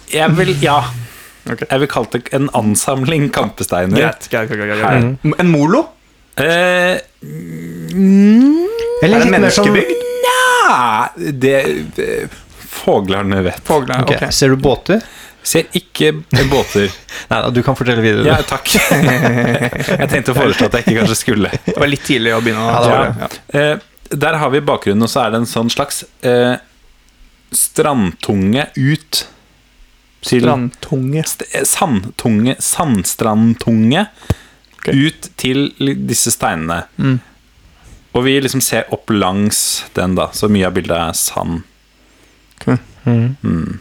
[SPEAKER 3] Jeg vil, ja
[SPEAKER 1] <laughs> Ok.
[SPEAKER 3] Jeg vil kalle det en ansamling kampesteiner.
[SPEAKER 1] Greit. greit, greit, greit, greit. En molo?
[SPEAKER 3] Eh,
[SPEAKER 1] Er
[SPEAKER 2] Eller
[SPEAKER 1] det
[SPEAKER 2] litt mer sånn
[SPEAKER 1] menneskebygd?
[SPEAKER 3] nja Det eh, Foglerne vet.
[SPEAKER 1] Fogle,
[SPEAKER 2] Ok,
[SPEAKER 1] ok.
[SPEAKER 2] Ser du båter?
[SPEAKER 3] Ser ikke
[SPEAKER 1] <laughs>
[SPEAKER 3] båter.
[SPEAKER 2] Nei da, du kan fortelle videre. du.
[SPEAKER 3] Ja, takk. <laughs> Jeg tenkte å foreslå at jeg ikke kanskje skulle.
[SPEAKER 1] Det var litt tidlig å begynne å
[SPEAKER 2] Ja, det var
[SPEAKER 1] Ja.
[SPEAKER 3] Eh, der har vi bakgrunnen, og så er det en sånn slags eh, strandtunge ut til
[SPEAKER 1] Strandtunge.
[SPEAKER 3] st eh, Sandtunge Sandstrandtunge
[SPEAKER 1] Ok.
[SPEAKER 3] ut til li- disse steinene. Og vi liksom ser opp langs den, da, så mye av bildet er sand.
[SPEAKER 1] Ok.
[SPEAKER 3] Mm.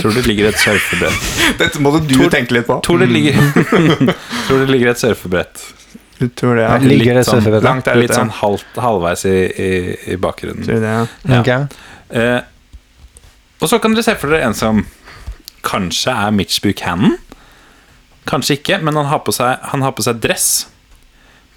[SPEAKER 3] Tror det ligger et surfebrett
[SPEAKER 1] Dette må du tenke litt på.
[SPEAKER 3] Tror det ligger, <laughs> tror det ligger et surfebrett
[SPEAKER 1] Du tror det,
[SPEAKER 3] Ja,
[SPEAKER 1] ja.
[SPEAKER 2] Ligger det
[SPEAKER 3] litt sånn
[SPEAKER 2] surfebrett?
[SPEAKER 1] Langt der
[SPEAKER 3] Litt
[SPEAKER 1] ute.
[SPEAKER 3] sånn halvt, halvveis i, i, i bakgrunnen.
[SPEAKER 1] Tror det, ja.
[SPEAKER 3] Ja.
[SPEAKER 2] Ok.
[SPEAKER 3] Eh, og så kan dere se for dere en som kanskje er Mitch Buchanan. Kanskje ikke, men han har på seg, han har på seg dress.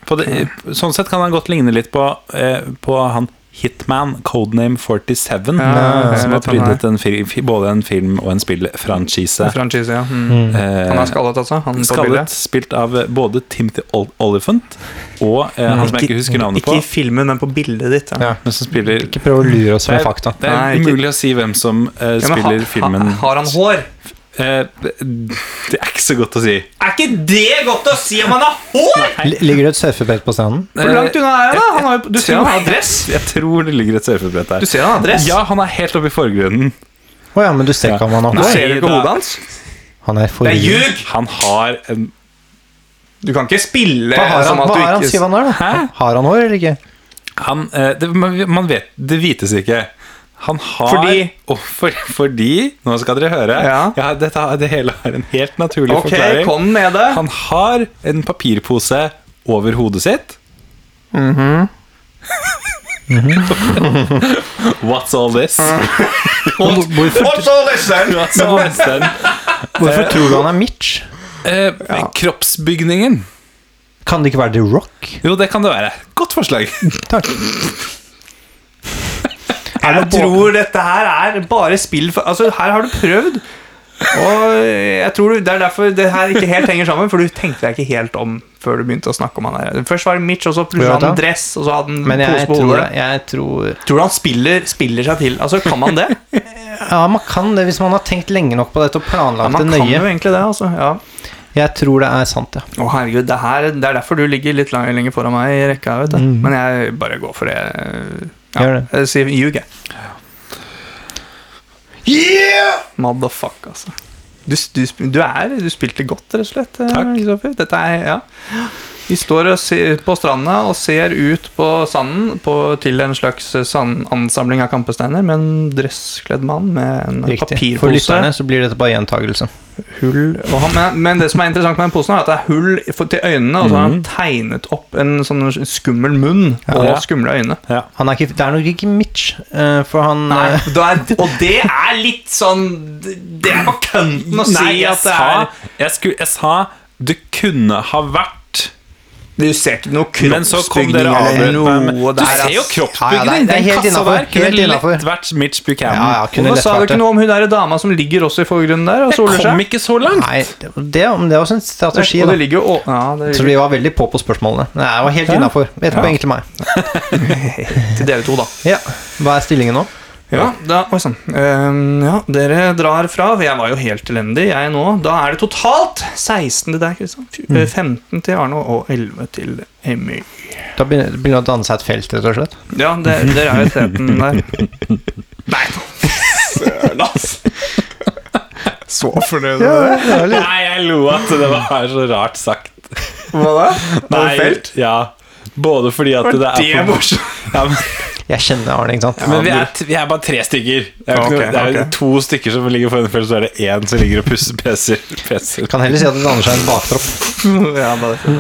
[SPEAKER 3] På det, Sånn sett kan han godt ligne litt på, eh, på han Hitman, codename 47,
[SPEAKER 1] Ja, jeg
[SPEAKER 3] som har
[SPEAKER 1] vet hvem han
[SPEAKER 3] prydet en fil, fi- både en film og en spillfranchise.
[SPEAKER 1] Franchise, ja. Mm. Han er
[SPEAKER 3] Eh,
[SPEAKER 1] skallet, altså. Han på
[SPEAKER 3] skallet,
[SPEAKER 1] bildet.
[SPEAKER 3] spilt av eh, både Timothy Ol- Oliphant og eh, han som jeg ikke husker navnet på,
[SPEAKER 1] Mm. Ikke i filmen, men på bildet ditt.
[SPEAKER 2] Ja.
[SPEAKER 1] Ja.
[SPEAKER 3] men som spiller
[SPEAKER 2] Ikke prøv å lure oss
[SPEAKER 3] Det
[SPEAKER 2] med
[SPEAKER 3] er-
[SPEAKER 2] fakta.
[SPEAKER 3] Det
[SPEAKER 1] Nei,
[SPEAKER 3] er
[SPEAKER 1] ikke-
[SPEAKER 3] umulig å si hvem som eh,
[SPEAKER 1] Ja, men
[SPEAKER 3] spiller filmen.
[SPEAKER 1] ha, Har han hår?
[SPEAKER 3] Eh, det det er ikke så godt å si.
[SPEAKER 1] Er ikke det godt å si om han har hår?!
[SPEAKER 2] L- Ligger det et surfebrett på stranden?
[SPEAKER 1] Hvor langt unna er jeg, da? Han har, jo- du ser han har dress!
[SPEAKER 3] <laughs> Jeg tror det ligger et surfebrett
[SPEAKER 1] Du
[SPEAKER 3] der.
[SPEAKER 1] ser han har dress!
[SPEAKER 3] Ja, han er helt oppe i forgrunnen.
[SPEAKER 2] Å ja, men du ser ikke om han har
[SPEAKER 1] Du
[SPEAKER 3] Nei.
[SPEAKER 2] hår?
[SPEAKER 1] ser jo ikke
[SPEAKER 3] da.
[SPEAKER 1] hodet hans.
[SPEAKER 2] Han er
[SPEAKER 1] Det er
[SPEAKER 2] forrige.
[SPEAKER 1] ljug!
[SPEAKER 3] Han har en
[SPEAKER 1] Du kan ikke spille
[SPEAKER 2] Hva har han,
[SPEAKER 1] som sånn at
[SPEAKER 2] hva
[SPEAKER 1] du
[SPEAKER 2] har han
[SPEAKER 1] ikke
[SPEAKER 2] skriver han der, da?
[SPEAKER 3] Hæ?
[SPEAKER 2] Har han hår eller ikke?
[SPEAKER 3] han, eh, det, man, man vet Det vites ikke. Han har
[SPEAKER 1] Fordi-
[SPEAKER 3] Å, for, Fordi Nå skal dere høre.
[SPEAKER 1] Ja.
[SPEAKER 3] dette, har- det hele har en helt naturlig
[SPEAKER 1] Ok,
[SPEAKER 3] forklaring.
[SPEAKER 1] kom med det.
[SPEAKER 3] Han har en papirpose over hodet sitt. Mm-hmm. What's all this?
[SPEAKER 1] What's all this then?
[SPEAKER 3] Mm-hmm. What's all this then?
[SPEAKER 2] Hvorfor tror du han er Mitch?
[SPEAKER 3] Eh, Kroppsbygningen.
[SPEAKER 2] Kan det ikke være The Rock?
[SPEAKER 3] Jo, det kan det være. Godt <laughs> forslag.
[SPEAKER 2] Takk.
[SPEAKER 1] Jeg tror dette her er bare spill for Altså, her har du prøvd. Og eh, jeg tror du, Det er derfor det her ikke helt henger sammen, for du tenkte deg ikke helt om før du begynte å snakke om han her. Først var det Mitch, og så plutselig
[SPEAKER 2] Ja,
[SPEAKER 1] hadde han
[SPEAKER 2] da.
[SPEAKER 1] dress, og så hadde han
[SPEAKER 2] Men jeg
[SPEAKER 1] pose på
[SPEAKER 2] tror,
[SPEAKER 1] hodet.
[SPEAKER 2] jeg tror
[SPEAKER 1] Tror du han spiller, spiller seg til? Altså, Kan
[SPEAKER 2] <laughs>
[SPEAKER 1] man det?
[SPEAKER 2] Ja, man kan det hvis man har tenkt lenge nok på dette og
[SPEAKER 1] Ja,
[SPEAKER 2] planlagt
[SPEAKER 1] man
[SPEAKER 2] det
[SPEAKER 1] kan jo
[SPEAKER 2] nøye.
[SPEAKER 1] egentlig det, altså. Ja.
[SPEAKER 2] Jeg tror det er sant, ja.
[SPEAKER 1] Å, herregud, det, her, det er derfor du ligger litt lang- lenger foran meg i rekka. vet du
[SPEAKER 2] Mm.
[SPEAKER 1] Men jeg bare går for det. Ja,
[SPEAKER 2] Gjør det.
[SPEAKER 1] Jeg sier ljug, jeg.
[SPEAKER 2] Yeah!
[SPEAKER 1] Motherfuck, altså. Du, du, sp- du, er, du spilte godt, rett og slett. eh,
[SPEAKER 3] Takk.
[SPEAKER 1] Kristoffer. Dette er, ja. Vi står og ser på stranda og ser ut på sanden på, til en slags sand, ansamling av kampesteiner med en dresskledd mann med en
[SPEAKER 2] Riktig. For lytterne
[SPEAKER 1] papirpose.
[SPEAKER 2] så blir dette bare gjentagelse.
[SPEAKER 1] Hull, og han, men, men det som er interessant med den posen, er at det er hull i- for, til øynene, og så har han tegnet opp en sånn skummel munn og
[SPEAKER 3] Ja.
[SPEAKER 1] skumle øyne.
[SPEAKER 3] Ja.
[SPEAKER 2] Han er ikke, det er nok ikke Mitch, eh, for han
[SPEAKER 1] Nei,
[SPEAKER 2] eh,
[SPEAKER 1] da er, og det er litt sånn Det er på kønten å
[SPEAKER 3] Nei,
[SPEAKER 1] si
[SPEAKER 3] jeg
[SPEAKER 1] at det
[SPEAKER 3] sa,
[SPEAKER 1] er
[SPEAKER 3] jeg, skulle, jeg sa du kunne ha vært
[SPEAKER 1] Du ser ikke noe
[SPEAKER 3] Men så kom dere
[SPEAKER 1] kroppsbygning
[SPEAKER 3] av
[SPEAKER 1] eller noe
[SPEAKER 3] Du
[SPEAKER 1] der. altså.
[SPEAKER 3] ser jo
[SPEAKER 1] ass.
[SPEAKER 3] kroppsbygning!
[SPEAKER 2] Ja, ja, det er- det er
[SPEAKER 3] Den
[SPEAKER 2] helt
[SPEAKER 3] kassa
[SPEAKER 2] innenfor,
[SPEAKER 3] der kunne
[SPEAKER 2] helt innenfor.
[SPEAKER 3] lett vært Mitch Buchanan.
[SPEAKER 2] Ja, ja, kunne
[SPEAKER 1] Hvorfor
[SPEAKER 2] lett
[SPEAKER 1] sa du
[SPEAKER 2] vært
[SPEAKER 1] ikke
[SPEAKER 2] det.
[SPEAKER 1] noe om hun der dama som ligger også i forgrunnen der og soler
[SPEAKER 3] Jeg kom
[SPEAKER 1] seg?
[SPEAKER 3] ikke så langt!
[SPEAKER 2] Nei, det, det, men det er også en strategi,
[SPEAKER 1] og
[SPEAKER 2] da.
[SPEAKER 1] det ligger jo å- ja, det
[SPEAKER 2] Så
[SPEAKER 1] ligger
[SPEAKER 2] vi var veldig på på spørsmålene. Nei, jeg var helt innafor. Ett poeng til meg.
[SPEAKER 1] til dere to, da.
[SPEAKER 2] Ja. Hva er stillingen nå?
[SPEAKER 1] Ja, da, oi sann. Ehm, ja, dere drar fra. for Jeg var jo helt elendig, jeg nå. Da er det totalt 16 til deg, Kristian. Fj- 15 til Arno og 11 til Emil.
[SPEAKER 2] Da begynner begynner det å danne seg et felt, rett og slett.
[SPEAKER 1] Ja, det, dere er jo i teten der. Nei, søren, ass! Så fornøyd med det.
[SPEAKER 3] Nei, jeg lo at det var så rart sagt.
[SPEAKER 1] Hva da?
[SPEAKER 3] Nei, ja. Både fordi at det,
[SPEAKER 1] det
[SPEAKER 3] er for- <laughs> ja, men,
[SPEAKER 2] Jeg kjenner Arne, ikke sant?
[SPEAKER 3] men vi, er, t- vi er bare tre stykker. Det er, jo ikke
[SPEAKER 1] Ok,
[SPEAKER 3] noe, det er jo
[SPEAKER 1] ok.
[SPEAKER 3] to stykker som ligger foran felt, så er det én som ligger og pusser peser. peser.
[SPEAKER 2] Kan heller si at det danner seg en baktropp.
[SPEAKER 1] <laughs> ja, bare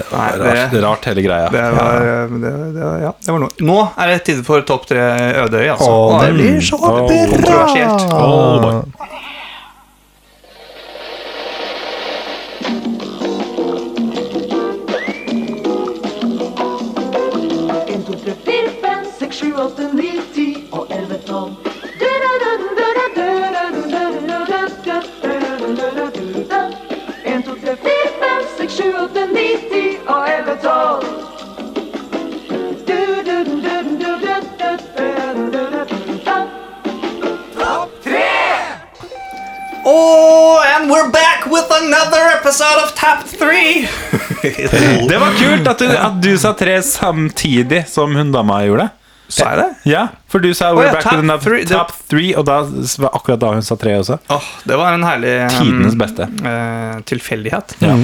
[SPEAKER 1] Nei,
[SPEAKER 3] det er rart,
[SPEAKER 1] det-
[SPEAKER 3] rart hele greia.
[SPEAKER 1] Det var, eh, det, det, var- ja, det var noe. Nå er det tid for topp tre Ødøy, altså.
[SPEAKER 2] Å, det
[SPEAKER 1] Nå er
[SPEAKER 2] blir så
[SPEAKER 3] Åh.
[SPEAKER 1] kontroversielt.
[SPEAKER 3] Oh, boy.
[SPEAKER 5] En, to, tre, fire, fem, seks, sju, åtte, ni, ti og elleve, tolv. En, to, tre, fire, fem, seks, sju, åtte, ni, ti og elleve, tolv.
[SPEAKER 1] Oh, and we're back with another episode of Top 3!
[SPEAKER 3] Det var kult at du, at du sa tre samtidig som hun dama gjorde.
[SPEAKER 1] Sa jeg det?
[SPEAKER 3] Ja, for du sa we're
[SPEAKER 1] ja,
[SPEAKER 3] back
[SPEAKER 1] top
[SPEAKER 3] to the
[SPEAKER 1] three,
[SPEAKER 3] top,
[SPEAKER 1] det-
[SPEAKER 3] top three, og da s- var akkurat da hun sa tre også.
[SPEAKER 1] Åh, det var en herlig eh,
[SPEAKER 3] Tidenes beste.
[SPEAKER 1] eh, tilfeldighet.
[SPEAKER 3] Ja.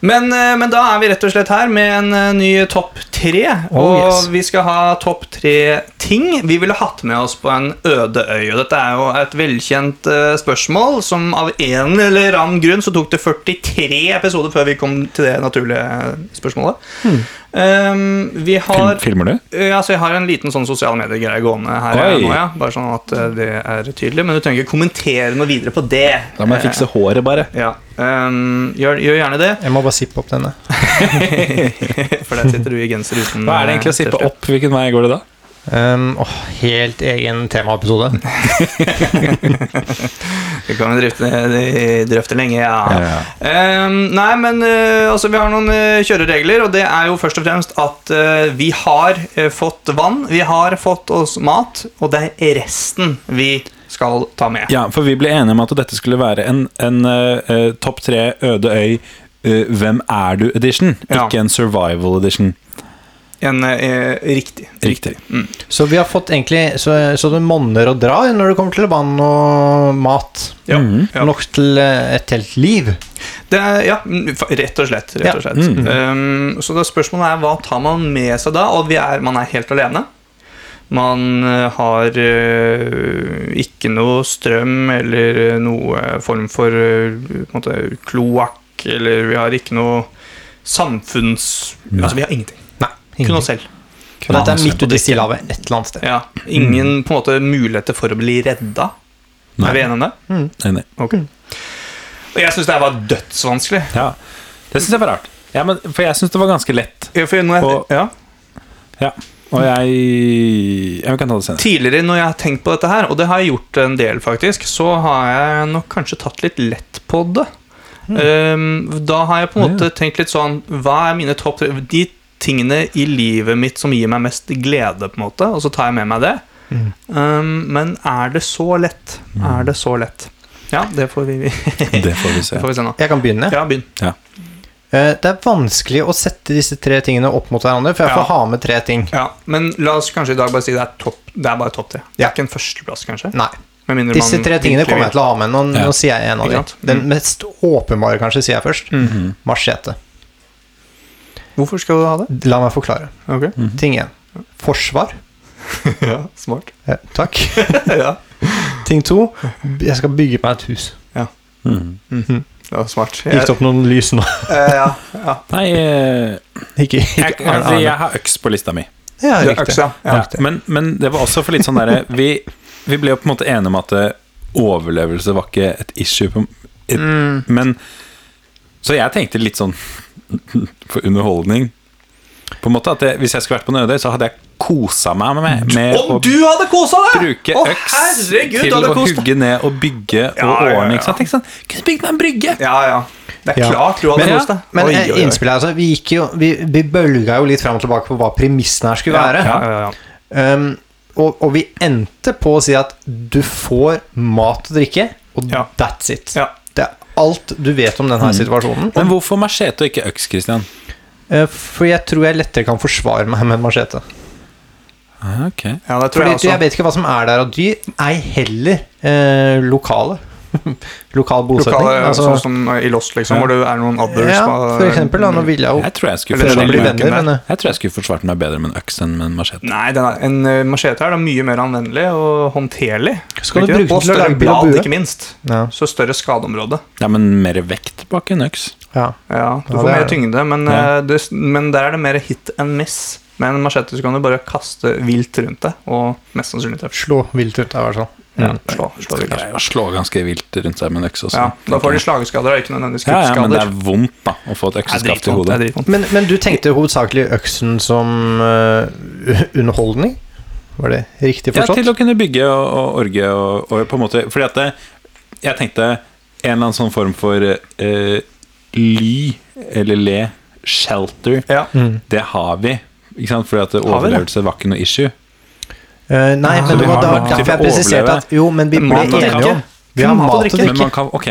[SPEAKER 1] Men, eh, men da er vi rett og slett her med en eh, ny topp tre. og
[SPEAKER 2] yes.
[SPEAKER 1] vi skal ha topp tre ting vi ville hatt med oss på en øde øy. Og dette er jo et velkjent eh, spørsmål som av en eller annen grunn så tok det 43 episoder før vi kom til det naturlige eh, spørsmålet. Um, vi har
[SPEAKER 3] Film, filmer du?
[SPEAKER 1] Eh, Altså, jeg har en liten sånn sosiale medier-greie gående her
[SPEAKER 3] Oi.
[SPEAKER 1] eh, nå, ja. Bare sånn at eh, det er tydelig. Men du trenger ikke kommentere noe videre på det.
[SPEAKER 3] Da må jeg fikse håret, bare.
[SPEAKER 1] Eh, Ja. Um, gjør, gjør gjerne det,
[SPEAKER 2] Jeg må bare sippe opp denne.
[SPEAKER 1] for der sitter du i genser uten
[SPEAKER 3] Hva er det egentlig å
[SPEAKER 1] eh,
[SPEAKER 3] sippe
[SPEAKER 1] T-skjorte.
[SPEAKER 3] opp? Hvilken vei går det da?
[SPEAKER 2] Um, åh, helt egen temaepisode.
[SPEAKER 1] Det kan vi drifte, eh, drøfte lenge, ja.
[SPEAKER 3] Ja.
[SPEAKER 1] Ehm, nei, men eh, altså, vi har noen eh, kjøreregler, og det er jo først og fremst at eh, vi har eh, fått vann, vi har fått oss mat, og det er resten vi skal ta med.
[SPEAKER 3] Ja, for vi ble enige om at dette skulle være en, en eh, eh, topp tre øde øy eh, Hvem er du-edition,
[SPEAKER 1] Ja.
[SPEAKER 3] ikke en survival-edition.
[SPEAKER 1] En, eh, riktig.
[SPEAKER 3] Riktig.
[SPEAKER 2] Så vi har fått egentlig Så, så det monner og drar når det kommer til vann og mat. Mm.
[SPEAKER 1] Ja. Ja.
[SPEAKER 2] Nok til eh, et helt liv.
[SPEAKER 1] Det er, ja, mm, fa- rett og slett. Rett og
[SPEAKER 2] Ja. Mm.
[SPEAKER 1] slett. Um, så da spørsmålet er hva tar man med seg da? Og vi er, man er helt alene. Man eh, har eh, ikke noe strøm eller eh, noe form for eh, på en måte, kloakk, eller vi har ikke noe samfunns... Altså, vi har ingenting.
[SPEAKER 2] Nei.
[SPEAKER 1] Kun
[SPEAKER 2] Ingenting.
[SPEAKER 1] oss selv.
[SPEAKER 2] Men Dette er midt ute i
[SPEAKER 1] drikke.
[SPEAKER 2] Stillehavet et eller annet sted.
[SPEAKER 1] Ja.
[SPEAKER 2] Mm.
[SPEAKER 1] Ingen på en måte, muligheter for å bli redda.
[SPEAKER 3] Nei.
[SPEAKER 1] Er vi enige om det?
[SPEAKER 3] Enig.
[SPEAKER 1] Ok.
[SPEAKER 2] Mm.
[SPEAKER 1] Og jeg syns det her var dødsvanskelig.
[SPEAKER 3] Ja. Det syns jeg var rart. Ja, men, for jeg syns det var ganske lett.
[SPEAKER 1] Ja, for når jeg,
[SPEAKER 3] Og-
[SPEAKER 1] ja.
[SPEAKER 3] Ja. Og jeg Ja, Vi kan ta det senere.
[SPEAKER 1] Tidligere når jeg har tenkt på dette her, og det har jeg gjort en del faktisk, så har jeg nok kanskje tatt litt lett på det.
[SPEAKER 2] Mm.
[SPEAKER 1] Um, da har jeg på en måte tenkt litt sånn Hva er mine topp tre De tingene i livet mitt som gir meg mest glede, på en måte, og så tar jeg med meg det.
[SPEAKER 2] Mm.
[SPEAKER 1] Um, men er det så lett? Er det så lett? Ja, det får vi, <laughs> det
[SPEAKER 3] Det får vi se.
[SPEAKER 1] får vi se nå.
[SPEAKER 2] Jeg kan begynne.
[SPEAKER 1] Ja, begynn.
[SPEAKER 3] Ja.
[SPEAKER 2] Eh, Det er vanskelig å sette disse tre tingene opp mot hverandre, for jeg får
[SPEAKER 1] Ja.
[SPEAKER 2] ha med tre ting.
[SPEAKER 1] Ja, men la oss kanskje i dag bare si det er, topp, det er bare topp tre. Det
[SPEAKER 2] Ja.
[SPEAKER 1] er ikke en førsteplass, kanskje?
[SPEAKER 2] Nei.
[SPEAKER 1] Med mindre
[SPEAKER 2] Disse tre tingene kommer jeg til å ha med. Nå,
[SPEAKER 3] Ja.
[SPEAKER 2] nå sier jeg en av
[SPEAKER 1] Ikke
[SPEAKER 2] dem.
[SPEAKER 1] sant? Mm.
[SPEAKER 2] Den mest åpenbare, kanskje, sier jeg først. Machete.
[SPEAKER 1] Hvorfor skal du ha det?
[SPEAKER 2] La meg forklare.
[SPEAKER 1] Ok.
[SPEAKER 2] Ting én. Forsvar.
[SPEAKER 1] ja, smart. <laughs>
[SPEAKER 2] Ja, takk. <laughs>
[SPEAKER 1] ja.
[SPEAKER 2] Ting to. Jeg skal bygge meg et hus.
[SPEAKER 1] Mhm. Det var smart.
[SPEAKER 2] Gikk det opp noen lys nå?
[SPEAKER 1] Eh, ja, ja.
[SPEAKER 3] Nei, eh,
[SPEAKER 2] Ikke,
[SPEAKER 3] jeg,
[SPEAKER 2] ikke
[SPEAKER 3] altså, jeg har øks på lista mi.
[SPEAKER 2] Ja,
[SPEAKER 1] Du er
[SPEAKER 2] riktig.
[SPEAKER 1] øksa. Ja.
[SPEAKER 3] Ja, men, men det var også for litt sånn derre vi, vi ble jo på en måte enige om at eh, overlevelse var ikke et issue. På, et, Men Så jeg tenkte litt sånn for underholdning. På en måte at jeg, Hvis jeg skulle vært på en ødøy, så hadde jeg kosa meg med, med
[SPEAKER 1] Om du hadde kosa deg!
[SPEAKER 3] Eh, bruke
[SPEAKER 1] Å,
[SPEAKER 3] øks
[SPEAKER 1] herregud, du
[SPEAKER 3] til
[SPEAKER 1] hadde
[SPEAKER 3] å
[SPEAKER 1] kost deg.
[SPEAKER 3] hugge ned og bygge og
[SPEAKER 1] Ja, ja, ja.
[SPEAKER 3] ordne. Ikke sant? Jeg tenkte sånn, kunne bygd meg en brygge!
[SPEAKER 1] Ja, ja. Det er
[SPEAKER 2] Ja.
[SPEAKER 1] klart du hadde
[SPEAKER 2] Men,
[SPEAKER 1] kost deg.
[SPEAKER 2] men
[SPEAKER 1] Oi,
[SPEAKER 2] eh,
[SPEAKER 1] oi, oi.
[SPEAKER 2] innspillet altså, vi, gikk jo, vi, vi bølga jo litt fram og tilbake på hva premissen her skulle
[SPEAKER 1] Ja,
[SPEAKER 2] være.
[SPEAKER 1] ja, ja, ja.
[SPEAKER 2] Um, og, og vi endte på å si at du får mat og drikke, og
[SPEAKER 1] Ja.
[SPEAKER 2] that's it.
[SPEAKER 1] Ja.
[SPEAKER 2] Det er alt du vet om denne situasjonen.
[SPEAKER 3] Men hvorfor machete og ikke øks, Christian?
[SPEAKER 2] Eh, For jeg tror jeg lettere kan forsvare meg med en machete.
[SPEAKER 3] Ah, Ok
[SPEAKER 1] ja, det tror
[SPEAKER 2] Fordi
[SPEAKER 1] jeg også.
[SPEAKER 2] jeg vet ikke hva som er der av dyr, ei heller eh, lokale. <laughs> Lokal bosetning.
[SPEAKER 1] Lokale,
[SPEAKER 2] altså,
[SPEAKER 1] sånn som i Lost, liksom,
[SPEAKER 3] Ja.
[SPEAKER 1] hvor det er noen others
[SPEAKER 2] ja,
[SPEAKER 1] som-
[SPEAKER 2] for eksempel. Da, nå ville jeg jo
[SPEAKER 3] Jeg tror jeg skulle
[SPEAKER 1] Eller sånn,
[SPEAKER 2] prøve
[SPEAKER 1] den
[SPEAKER 2] å bli
[SPEAKER 1] luken
[SPEAKER 2] venner,
[SPEAKER 1] der.
[SPEAKER 2] men eh,
[SPEAKER 3] Jeg tror jeg skulle forsvart meg bedre med en øks enn med en machete.
[SPEAKER 1] Nei, den er, en eh, machete er da mye mer anvendelig og håndterlig. Ikke
[SPEAKER 2] Skal du
[SPEAKER 1] det? og
[SPEAKER 2] bruke den til å
[SPEAKER 1] større
[SPEAKER 2] lage bil og
[SPEAKER 1] blad,
[SPEAKER 2] bue?
[SPEAKER 1] ikke minst.
[SPEAKER 2] eh, ja,
[SPEAKER 1] Så større skadeområde.
[SPEAKER 3] Ja, men mer vekt bak en øks.
[SPEAKER 2] ja.
[SPEAKER 1] Ja, du får
[SPEAKER 2] Ja, det er
[SPEAKER 1] mer
[SPEAKER 2] det.
[SPEAKER 1] tyngde, men,
[SPEAKER 3] Ja.
[SPEAKER 1] eh, det, men der er det mer hit and miss. Med en machete så kan du bare kaste vilt rundt deg, og mest sannsynlig treffe.
[SPEAKER 2] Slå vilt ut, sånn. i hvert fall.
[SPEAKER 1] Ja, slå, slå vilt.
[SPEAKER 3] Å slå ganske vilt rundt seg med en øks også.
[SPEAKER 1] Ja, da får de slagskader, og ikke nødvendigvis
[SPEAKER 3] ja, ja, men det
[SPEAKER 1] kuttskader.
[SPEAKER 3] er vondt, da, å få et økseskaft i hodet.
[SPEAKER 1] dritvondt.
[SPEAKER 2] Men, men du tenkte hovedsakelig øksen som eh, <laughs> underholdning? Var det riktig
[SPEAKER 3] Ja,
[SPEAKER 2] forstått?
[SPEAKER 3] til å kunne bygge og, og orge og, og på en måte Fordi at det, jeg tenkte en eller annen sånn form for eh, ly, eller le, shelter,
[SPEAKER 1] Ja.
[SPEAKER 3] det har vi. Ikke sant? Fordi at
[SPEAKER 1] Har vi det?
[SPEAKER 3] overlevelse var ikke noe issue.
[SPEAKER 2] Eh, nei,
[SPEAKER 1] Ah,
[SPEAKER 2] men det
[SPEAKER 3] vi
[SPEAKER 2] var
[SPEAKER 3] har
[SPEAKER 2] da,
[SPEAKER 3] nok til
[SPEAKER 2] derfor jeg
[SPEAKER 3] å
[SPEAKER 2] presiserte
[SPEAKER 3] overleve.
[SPEAKER 2] at jo, men vi ble
[SPEAKER 1] Mat og
[SPEAKER 2] enige
[SPEAKER 1] drikke.
[SPEAKER 2] om Vi har
[SPEAKER 1] Kun
[SPEAKER 2] mat og
[SPEAKER 3] Men
[SPEAKER 2] drikke.
[SPEAKER 3] man kan, ok,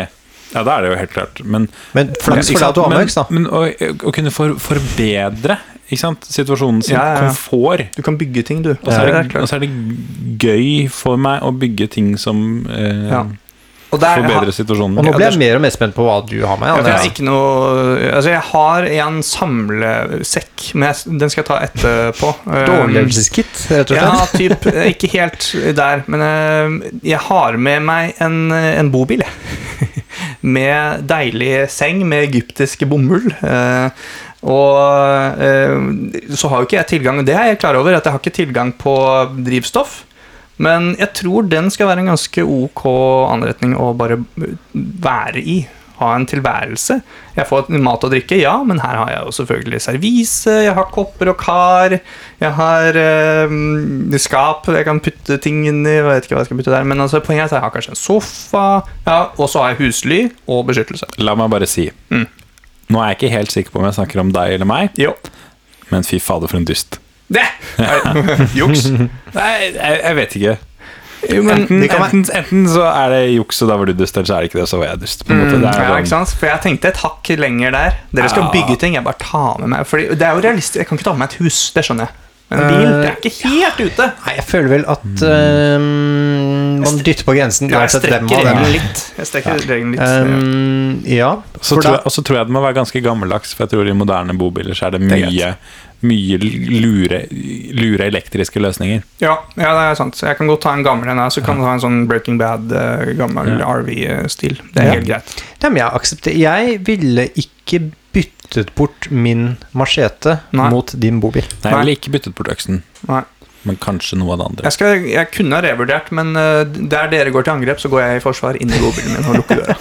[SPEAKER 3] ja, da er det jo helt klart. Men,
[SPEAKER 2] Men flaks for
[SPEAKER 3] Ikke
[SPEAKER 2] deg
[SPEAKER 3] sant?
[SPEAKER 2] at du har med
[SPEAKER 3] Men-
[SPEAKER 2] øks, da.
[SPEAKER 3] Men å, å kunne for, forbedre ikke sant? situasjonen sin,
[SPEAKER 1] Ja, ja, ja.
[SPEAKER 3] komfort
[SPEAKER 1] Du kan bygge ting, du.
[SPEAKER 3] Og så,
[SPEAKER 1] Ja,
[SPEAKER 3] er det,
[SPEAKER 1] det er klart.
[SPEAKER 3] og så er det gøy for meg å bygge ting som eh,
[SPEAKER 1] Ja. Og der-
[SPEAKER 3] forbedrer
[SPEAKER 2] Og
[SPEAKER 3] situasjonen.
[SPEAKER 2] nå
[SPEAKER 1] Ja,
[SPEAKER 2] ble
[SPEAKER 1] det-
[SPEAKER 2] jeg mer og mer spent på hva du har med.
[SPEAKER 1] Jeg,
[SPEAKER 2] Andreas.
[SPEAKER 1] har ikke noe, altså jeg har en samlesekk, men jeg, den skal jeg ta etterpå. Eh,
[SPEAKER 2] Et overlevelseskit, rett og slett.
[SPEAKER 1] Ja, typ, eh, ikke helt der, men eh, jeg har med meg en, eh, en bobil, jeg. <laughs> med deilig seng med egyptisk bomull. eh, og eh, så har jo ikke jeg tilgang, det er jeg klar over, at jeg har ikke tilgang på drivstoff. Men jeg tror den skal være en ganske ok anretning å bare være i. Ha en tilværelse. Jeg får mat og drikke, ja, men her har jeg jo selvfølgelig servise, jeg har kopper og kar, jeg har eh, skap jeg kan putte ting inn i, jeg vet ikke hva jeg skal putte der, men altså, poenget er at jeg har kanskje en sofa, ja, og så har jeg husly og beskyttelse.
[SPEAKER 3] La meg bare si
[SPEAKER 1] Mm.
[SPEAKER 3] Nå er jeg ikke helt sikker på om jeg snakker om deg eller meg,
[SPEAKER 1] Jo.
[SPEAKER 3] men fy fader, for en dust.
[SPEAKER 1] Det! <laughs> er Juks.
[SPEAKER 3] Nei, jeg, jeg vet ikke.
[SPEAKER 1] Jo, men
[SPEAKER 3] enten,
[SPEAKER 1] det kan være-
[SPEAKER 3] enten, enten så er det juks, og da var du dust, eller så er det ikke det, så var jeg dust. På
[SPEAKER 2] Mm.
[SPEAKER 3] en måte.
[SPEAKER 1] Mm.
[SPEAKER 3] Det er
[SPEAKER 1] ja,
[SPEAKER 3] sånn-
[SPEAKER 1] ikke sant? For jeg tenkte et hakk lenger der. Dere skal
[SPEAKER 3] Ja.
[SPEAKER 1] bygge ting, jeg bare tar med meg Fordi det er jo realistisk, jeg kan ikke ta med meg et hus, det skjønner jeg. Men en bil, det er ikke helt ute.
[SPEAKER 2] Eh, Nei, jeg føler vel at øhm, man dytter på grensen.
[SPEAKER 1] Ja, jeg
[SPEAKER 2] uansett hvem
[SPEAKER 1] strekker
[SPEAKER 2] av Um, dem.
[SPEAKER 1] regelen litt. Jeg strekker regelen litt.
[SPEAKER 2] Øhm, ja,
[SPEAKER 3] Så
[SPEAKER 2] for
[SPEAKER 3] tror
[SPEAKER 2] da,
[SPEAKER 3] jeg, og så tror jeg den må være ganske gammeldags, for jeg tror i moderne bobiler så er det
[SPEAKER 1] Det er
[SPEAKER 3] mye, mye lure, lure elektriske løsninger.
[SPEAKER 1] Ja, ja, det er sant. Så Jeg kan godt ta en gammel en her, så kan du ha en sånn Breaking Bad, eh, gammel
[SPEAKER 3] Ja.
[SPEAKER 1] RV-stil. Det er
[SPEAKER 2] Ja.
[SPEAKER 1] helt greit.
[SPEAKER 2] Nei, men jeg aksepterer Jeg ville ikke byttet bort min machete
[SPEAKER 1] Nei.
[SPEAKER 2] mot din bobil.
[SPEAKER 3] Nei, jeg ville ikke byttet bort øksen,
[SPEAKER 1] Nei.
[SPEAKER 3] men kanskje noe av det andre.
[SPEAKER 1] Jeg, skal, jeg kunne ha revurdert, men eh, der dere går til angrep, så går jeg i forsvar inn i godbilen min og lukker
[SPEAKER 2] <laughs>
[SPEAKER 1] døra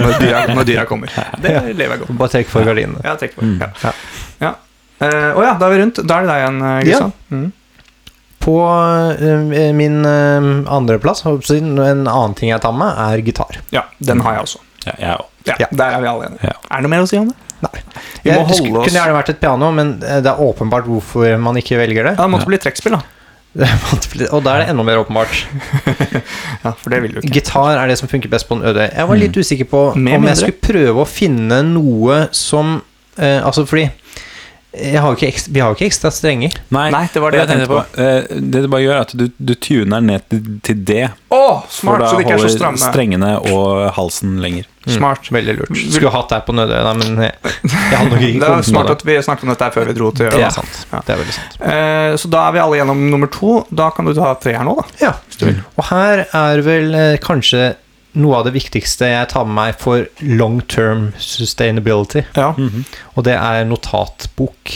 [SPEAKER 1] når dyra, når dyra kommer. Det lever jeg godt
[SPEAKER 2] Bare trekk for gardinene.
[SPEAKER 1] Ja, tenk på det.
[SPEAKER 2] Ja.
[SPEAKER 1] Ja. Ja. Eh, Å ja, da er vi rundt. Da er det deg igjen, eh,
[SPEAKER 2] Ja.
[SPEAKER 1] Kristian. Mm.
[SPEAKER 2] På øh, min øh, andreplass, håper jeg å si, en annen ting jeg tar med, er gitar.
[SPEAKER 1] Ja. den har jeg også.
[SPEAKER 3] Ja, jeg òg.
[SPEAKER 1] Ja,
[SPEAKER 2] Ja.
[SPEAKER 1] Der er vi alle enige.
[SPEAKER 3] Ja.
[SPEAKER 1] Er det noe mer å si om det?
[SPEAKER 2] Nei.
[SPEAKER 1] Vi må
[SPEAKER 2] Jeg- det
[SPEAKER 1] holde
[SPEAKER 2] skulle-
[SPEAKER 1] oss
[SPEAKER 2] kunne gjerne vært et piano, men eh, det er åpenbart hvorfor man ikke velger det.
[SPEAKER 1] Ja, Det måtte bli trekkspill, da.
[SPEAKER 2] <laughs> Det er vanskelig, Og da er det enda mer åpenbart.
[SPEAKER 1] Ja, For det vil du ikke.
[SPEAKER 2] Gitar er det som funker best på en øde øy. Jeg var
[SPEAKER 1] Mm.
[SPEAKER 2] litt usikker på
[SPEAKER 1] Med
[SPEAKER 2] om
[SPEAKER 1] mindre.
[SPEAKER 2] jeg skulle prøve å finne noe som eh, Altså fordi jeg har jo ikke ekstra, vi har jo ikke ekstra strenger.
[SPEAKER 3] Nei,
[SPEAKER 1] Nei, det var det jeg tenkte
[SPEAKER 3] Eh, Det det bare gjør, er at du, du tuner ned til, til det.
[SPEAKER 1] Å,
[SPEAKER 3] For
[SPEAKER 1] smart,
[SPEAKER 3] da
[SPEAKER 1] så de ikke er så
[SPEAKER 3] holder
[SPEAKER 1] stramme.
[SPEAKER 3] strengene og halsen lenger.
[SPEAKER 1] Smart.
[SPEAKER 2] Veldig lurt. Skulle hatt deg på Nødøy, da, men jeg, jeg hadde nok ikke
[SPEAKER 1] Det er
[SPEAKER 2] kommet
[SPEAKER 1] smart
[SPEAKER 2] med <laughs> det.
[SPEAKER 1] at vi snakket om dette her før vi dro til
[SPEAKER 2] Det
[SPEAKER 1] Ørland.
[SPEAKER 2] er sant.
[SPEAKER 1] Ja.
[SPEAKER 2] Det er veldig sant.
[SPEAKER 1] Eh, Så da er vi alle gjennom nummer to. Da kan du ta tre her nå, da.
[SPEAKER 2] Ja. Og her er vel eh, kanskje noe av det viktigste jeg tar med meg for long term sustainability,
[SPEAKER 1] Ja.
[SPEAKER 2] og det er notatbok.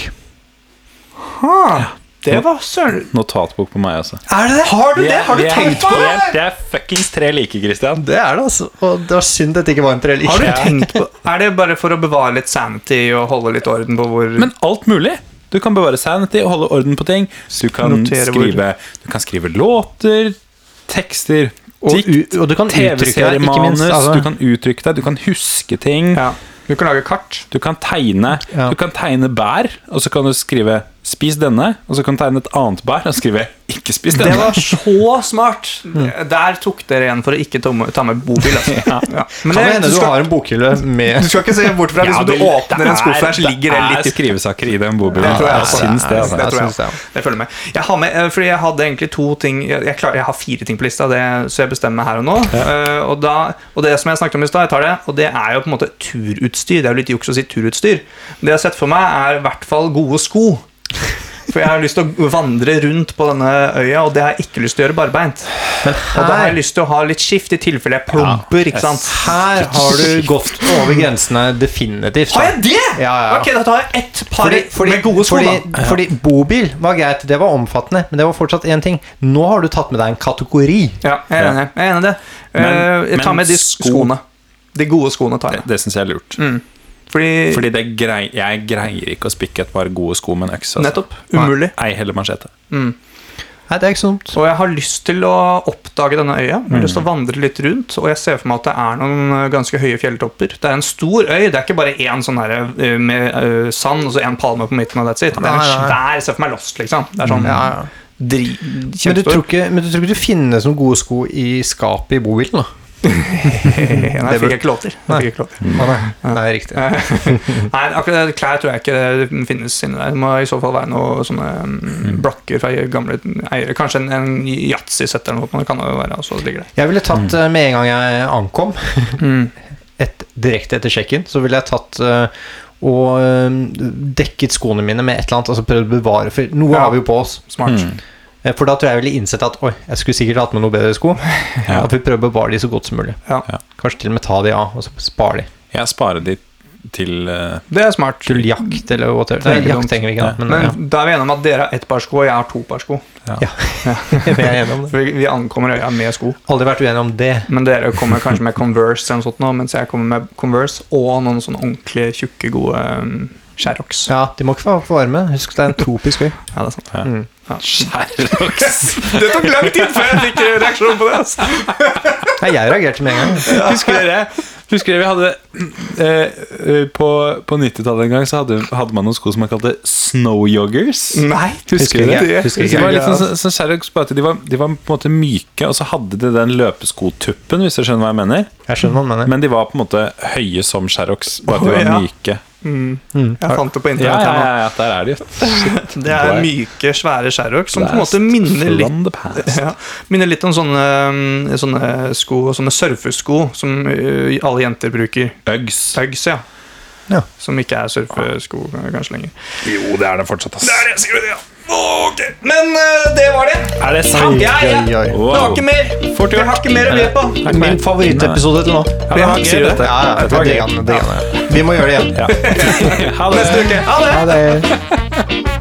[SPEAKER 1] Ha, Ah, det var søren
[SPEAKER 3] Notatbok på meg også.
[SPEAKER 2] Er det det?
[SPEAKER 1] Har du det? Har du
[SPEAKER 3] Vi er-
[SPEAKER 1] tenkt på
[SPEAKER 3] vi er-
[SPEAKER 1] det?
[SPEAKER 3] Det er fuckings tre like, Christian.
[SPEAKER 2] Det er det, altså. Og det var synd dette ikke var en trell.
[SPEAKER 1] Har du tenkt på Er det bare for å bevare litt sanity og holde litt orden på hvor
[SPEAKER 3] Men alt mulig. Du kan bevare sanity og holde orden på ting. Du kan,
[SPEAKER 1] Notere hvor-
[SPEAKER 3] skrive, du kan skrive låter, tekster,
[SPEAKER 2] Og,
[SPEAKER 3] dikt,
[SPEAKER 2] u- og du kan uttrykke deg, ikke
[SPEAKER 3] TV-seriemanus.
[SPEAKER 2] minst. Altså,
[SPEAKER 3] Du kan uttrykke deg, du kan huske ting.
[SPEAKER 1] ja. Du kan lage kart.
[SPEAKER 3] Du kan tegne
[SPEAKER 2] Ja.
[SPEAKER 3] Du kan tegne bær, og så kan du skrive 'spis denne', og så kan du tegne et annet bær og skrive 'ikke spis
[SPEAKER 1] Det
[SPEAKER 3] denne'.
[SPEAKER 1] var
[SPEAKER 3] <laughs>
[SPEAKER 1] så smart! Der tok dere igjen for å ikke ta med, ta med bobil. Altså. Ja. Men
[SPEAKER 2] kan det
[SPEAKER 1] det- du,
[SPEAKER 2] hende du
[SPEAKER 1] skal,
[SPEAKER 2] har en bokhylle med
[SPEAKER 1] du skal ikke se bort fra hvis du åpner en skuff der, så ligger det litt i
[SPEAKER 3] skrivesaker i den bobilen.
[SPEAKER 1] Det tror jeg
[SPEAKER 3] jeg,
[SPEAKER 1] også.
[SPEAKER 3] syns det. Altså.
[SPEAKER 1] Det tror jeg
[SPEAKER 2] syns det, ja.
[SPEAKER 1] Jeg følger med. Jeg har med, eh, fordi jeg hadde egentlig to ting Jeg, jeg, klarer, jeg har fire ting på lista, det, så jeg bestemmer meg her og nå. Eh, og, da, og det som jeg snakket om i stad, jeg tar det, og det er jo på en måte turutstyr. Det er jo litt juks å si turutstyr. Det jeg har sett for meg, er i hvert fall gode sko. For jeg har lyst til å vandre rundt på denne øya, og det har jeg ikke lyst til å gjøre barbeint. Og da har jeg lyst til å ha litt skift, i tilfelle jeg plumper. ikke sant?
[SPEAKER 2] Her har du gått over grensene definitivt. da.
[SPEAKER 1] Har jeg det?!
[SPEAKER 2] Ja, ja, ja.
[SPEAKER 1] Ok, da tar jeg ett par
[SPEAKER 2] Fordi, fordi,
[SPEAKER 1] med gode sko,
[SPEAKER 2] fordi,
[SPEAKER 1] da.
[SPEAKER 2] fordi bobil var greit, det var omfattende, men det var fortsatt én ting. Nå har du tatt med deg en kategori.
[SPEAKER 1] Ja, jeg er enig. Jeg er enig i det. Eh,
[SPEAKER 3] Men-
[SPEAKER 1] jeg tar
[SPEAKER 3] men
[SPEAKER 1] med de
[SPEAKER 3] sko-
[SPEAKER 1] skoene. De gode skoene tar jeg.
[SPEAKER 3] Det syns jeg er lurt.
[SPEAKER 1] Fordi,
[SPEAKER 3] Fordi det grei, jeg greier ikke å spikke et par gode sko med en øks. altså.
[SPEAKER 1] Nettopp.
[SPEAKER 3] Nei.
[SPEAKER 1] Umulig.
[SPEAKER 3] Ei heller machete.
[SPEAKER 2] Nei, det er ikke sånn- så dumt.
[SPEAKER 1] Og jeg har lyst til å oppdage denne øya. Jeg har lyst til å
[SPEAKER 2] Mm.
[SPEAKER 1] vandre litt rundt, og jeg ser for meg at det er noen eh, ganske høye fjelltopper. Det er en stor øy. Det er ikke bare én sånn her eh, med eh, sand og så én palme på midten, og that's it. Det er en
[SPEAKER 2] Nei, nei.
[SPEAKER 1] svær Jeg ser for meg Lost, liksom. Det er sånn
[SPEAKER 2] Ja, ja.
[SPEAKER 1] dri,
[SPEAKER 2] Men du, tror
[SPEAKER 1] kjempestor.
[SPEAKER 2] ikke, men du tror ikke du finnes noen gode sko i skapet i bobilen, da?
[SPEAKER 1] <laughs> Nei, jeg fikk ikke lov til. Jeg
[SPEAKER 2] Nei.
[SPEAKER 1] Fikk ikke lov til.
[SPEAKER 2] Nei, nei, nei riktig.
[SPEAKER 1] Eh, <laughs> Nei, akkurat det, klær tror jeg ikke det finnes inni der. Det må i så fall være noe sånne mm, blokker fra gamle eiere. Kanskje en, en yatzy-sett eller noe. men Det kan det jo være, og så ligger det.
[SPEAKER 2] Jeg ville
[SPEAKER 1] Mm.
[SPEAKER 2] tatt eh, med en gang jeg ankom, <laughs> et, direkte etter check-in, så ville jeg tatt eh, og eh, dekket skoene mine med et eller annet, altså prøvd å bevare, for noe
[SPEAKER 1] Ja.
[SPEAKER 2] har vi jo på oss.
[SPEAKER 1] Smart.
[SPEAKER 2] Eh, For da tror jeg jeg ville innsett at oi, jeg skulle sikkert hatt med noe
[SPEAKER 1] <laughs>
[SPEAKER 2] bedre sko.
[SPEAKER 3] Ja.
[SPEAKER 2] At vi prøver å bevare de så godt som mulig.
[SPEAKER 1] Ja.
[SPEAKER 3] Ja.
[SPEAKER 2] Kanskje til og med ta de av, og så spare de.
[SPEAKER 3] Jeg sparer de til eh,
[SPEAKER 1] Det er smart.
[SPEAKER 2] Til jakt eller whatever.
[SPEAKER 1] Det er
[SPEAKER 2] Nei,
[SPEAKER 1] ikke dumt.
[SPEAKER 2] jakt trenger vi ikke, da. Men, eh,
[SPEAKER 1] Men da er vi enige om at dere har ett par sko, og jeg har to par sko.
[SPEAKER 2] <laughs> ja. vi er enige om det.
[SPEAKER 1] For vi, vi ankommer øya med sko.
[SPEAKER 2] Aldri vært uenige om det.
[SPEAKER 1] Men dere kommer kanskje med Converse eller noe sånt nå, mens jeg kommer med Converse og noen sånne ordentlige, tjukke, gode um, Sherrox. Ja.
[SPEAKER 2] Ja, de må ikke få for varme. Husk det er en tropisk øy.
[SPEAKER 1] det er sant.
[SPEAKER 3] Sherrox.
[SPEAKER 1] Det tok lang tid før jeg fikk reaksjon på det. Altså.
[SPEAKER 2] Nei, jeg reagerte med en gang.
[SPEAKER 3] <laughs> Husker dere Husker dere vi hadde eh, eh, På, på 90-tallet en gang så hadde, hadde man noen sko som man kalte snow joggers.
[SPEAKER 1] Nei,
[SPEAKER 2] Husker
[SPEAKER 1] dere
[SPEAKER 2] ikke.
[SPEAKER 1] det?
[SPEAKER 2] Husker
[SPEAKER 3] Det
[SPEAKER 2] ikke.
[SPEAKER 3] Mm. var litt sånn, sånn, sånn Sherrox, bare at de, var, de var på en måte myke, og så hadde de den løpeskotuppen, hvis du skjønner hva jeg mener.
[SPEAKER 2] Jeg skjønner hva du mener.
[SPEAKER 3] Men de var på en måte høye som Sherrox, bare at de
[SPEAKER 1] Å,
[SPEAKER 3] var
[SPEAKER 1] ja.
[SPEAKER 3] myke.
[SPEAKER 1] Jeg fant det på
[SPEAKER 3] Ja,
[SPEAKER 1] internett.
[SPEAKER 3] ja,
[SPEAKER 1] her nå.
[SPEAKER 3] ja, ja der er de.
[SPEAKER 1] Det er myke, svære Sherrox som på en måte
[SPEAKER 3] Blast
[SPEAKER 1] minner litt
[SPEAKER 3] From the past.
[SPEAKER 1] <laughs> ja, minner litt om sånne, um, sånne sko, sånne surfesko som uh, alle jenter bruker.
[SPEAKER 3] Uggs.
[SPEAKER 1] Tugs, ja.
[SPEAKER 2] Ja.
[SPEAKER 1] Som ikke er surfesko uh, kanskje lenger.
[SPEAKER 3] Jo, det er det fortsatt, ass.
[SPEAKER 1] det, sikkert det, ja. Ok, Men uh, det var det.
[SPEAKER 3] Er det
[SPEAKER 1] Ja,
[SPEAKER 3] sant?
[SPEAKER 1] ja, ja.
[SPEAKER 2] Oi, oi, oi.
[SPEAKER 1] Det var ikke mer. Vi har ikke mer å be på.
[SPEAKER 2] Min favorittepisode til nå.
[SPEAKER 1] Vi
[SPEAKER 3] Ja,
[SPEAKER 1] har ikke
[SPEAKER 3] sier du
[SPEAKER 1] det.
[SPEAKER 3] dette?
[SPEAKER 2] Ja, ja,
[SPEAKER 3] Dette var
[SPEAKER 2] det
[SPEAKER 3] gøy.
[SPEAKER 2] kan- det kan jeg. Vi må gjøre det igjen.
[SPEAKER 3] Ha det.
[SPEAKER 1] Neste uke. Ha det.
[SPEAKER 2] Ha det.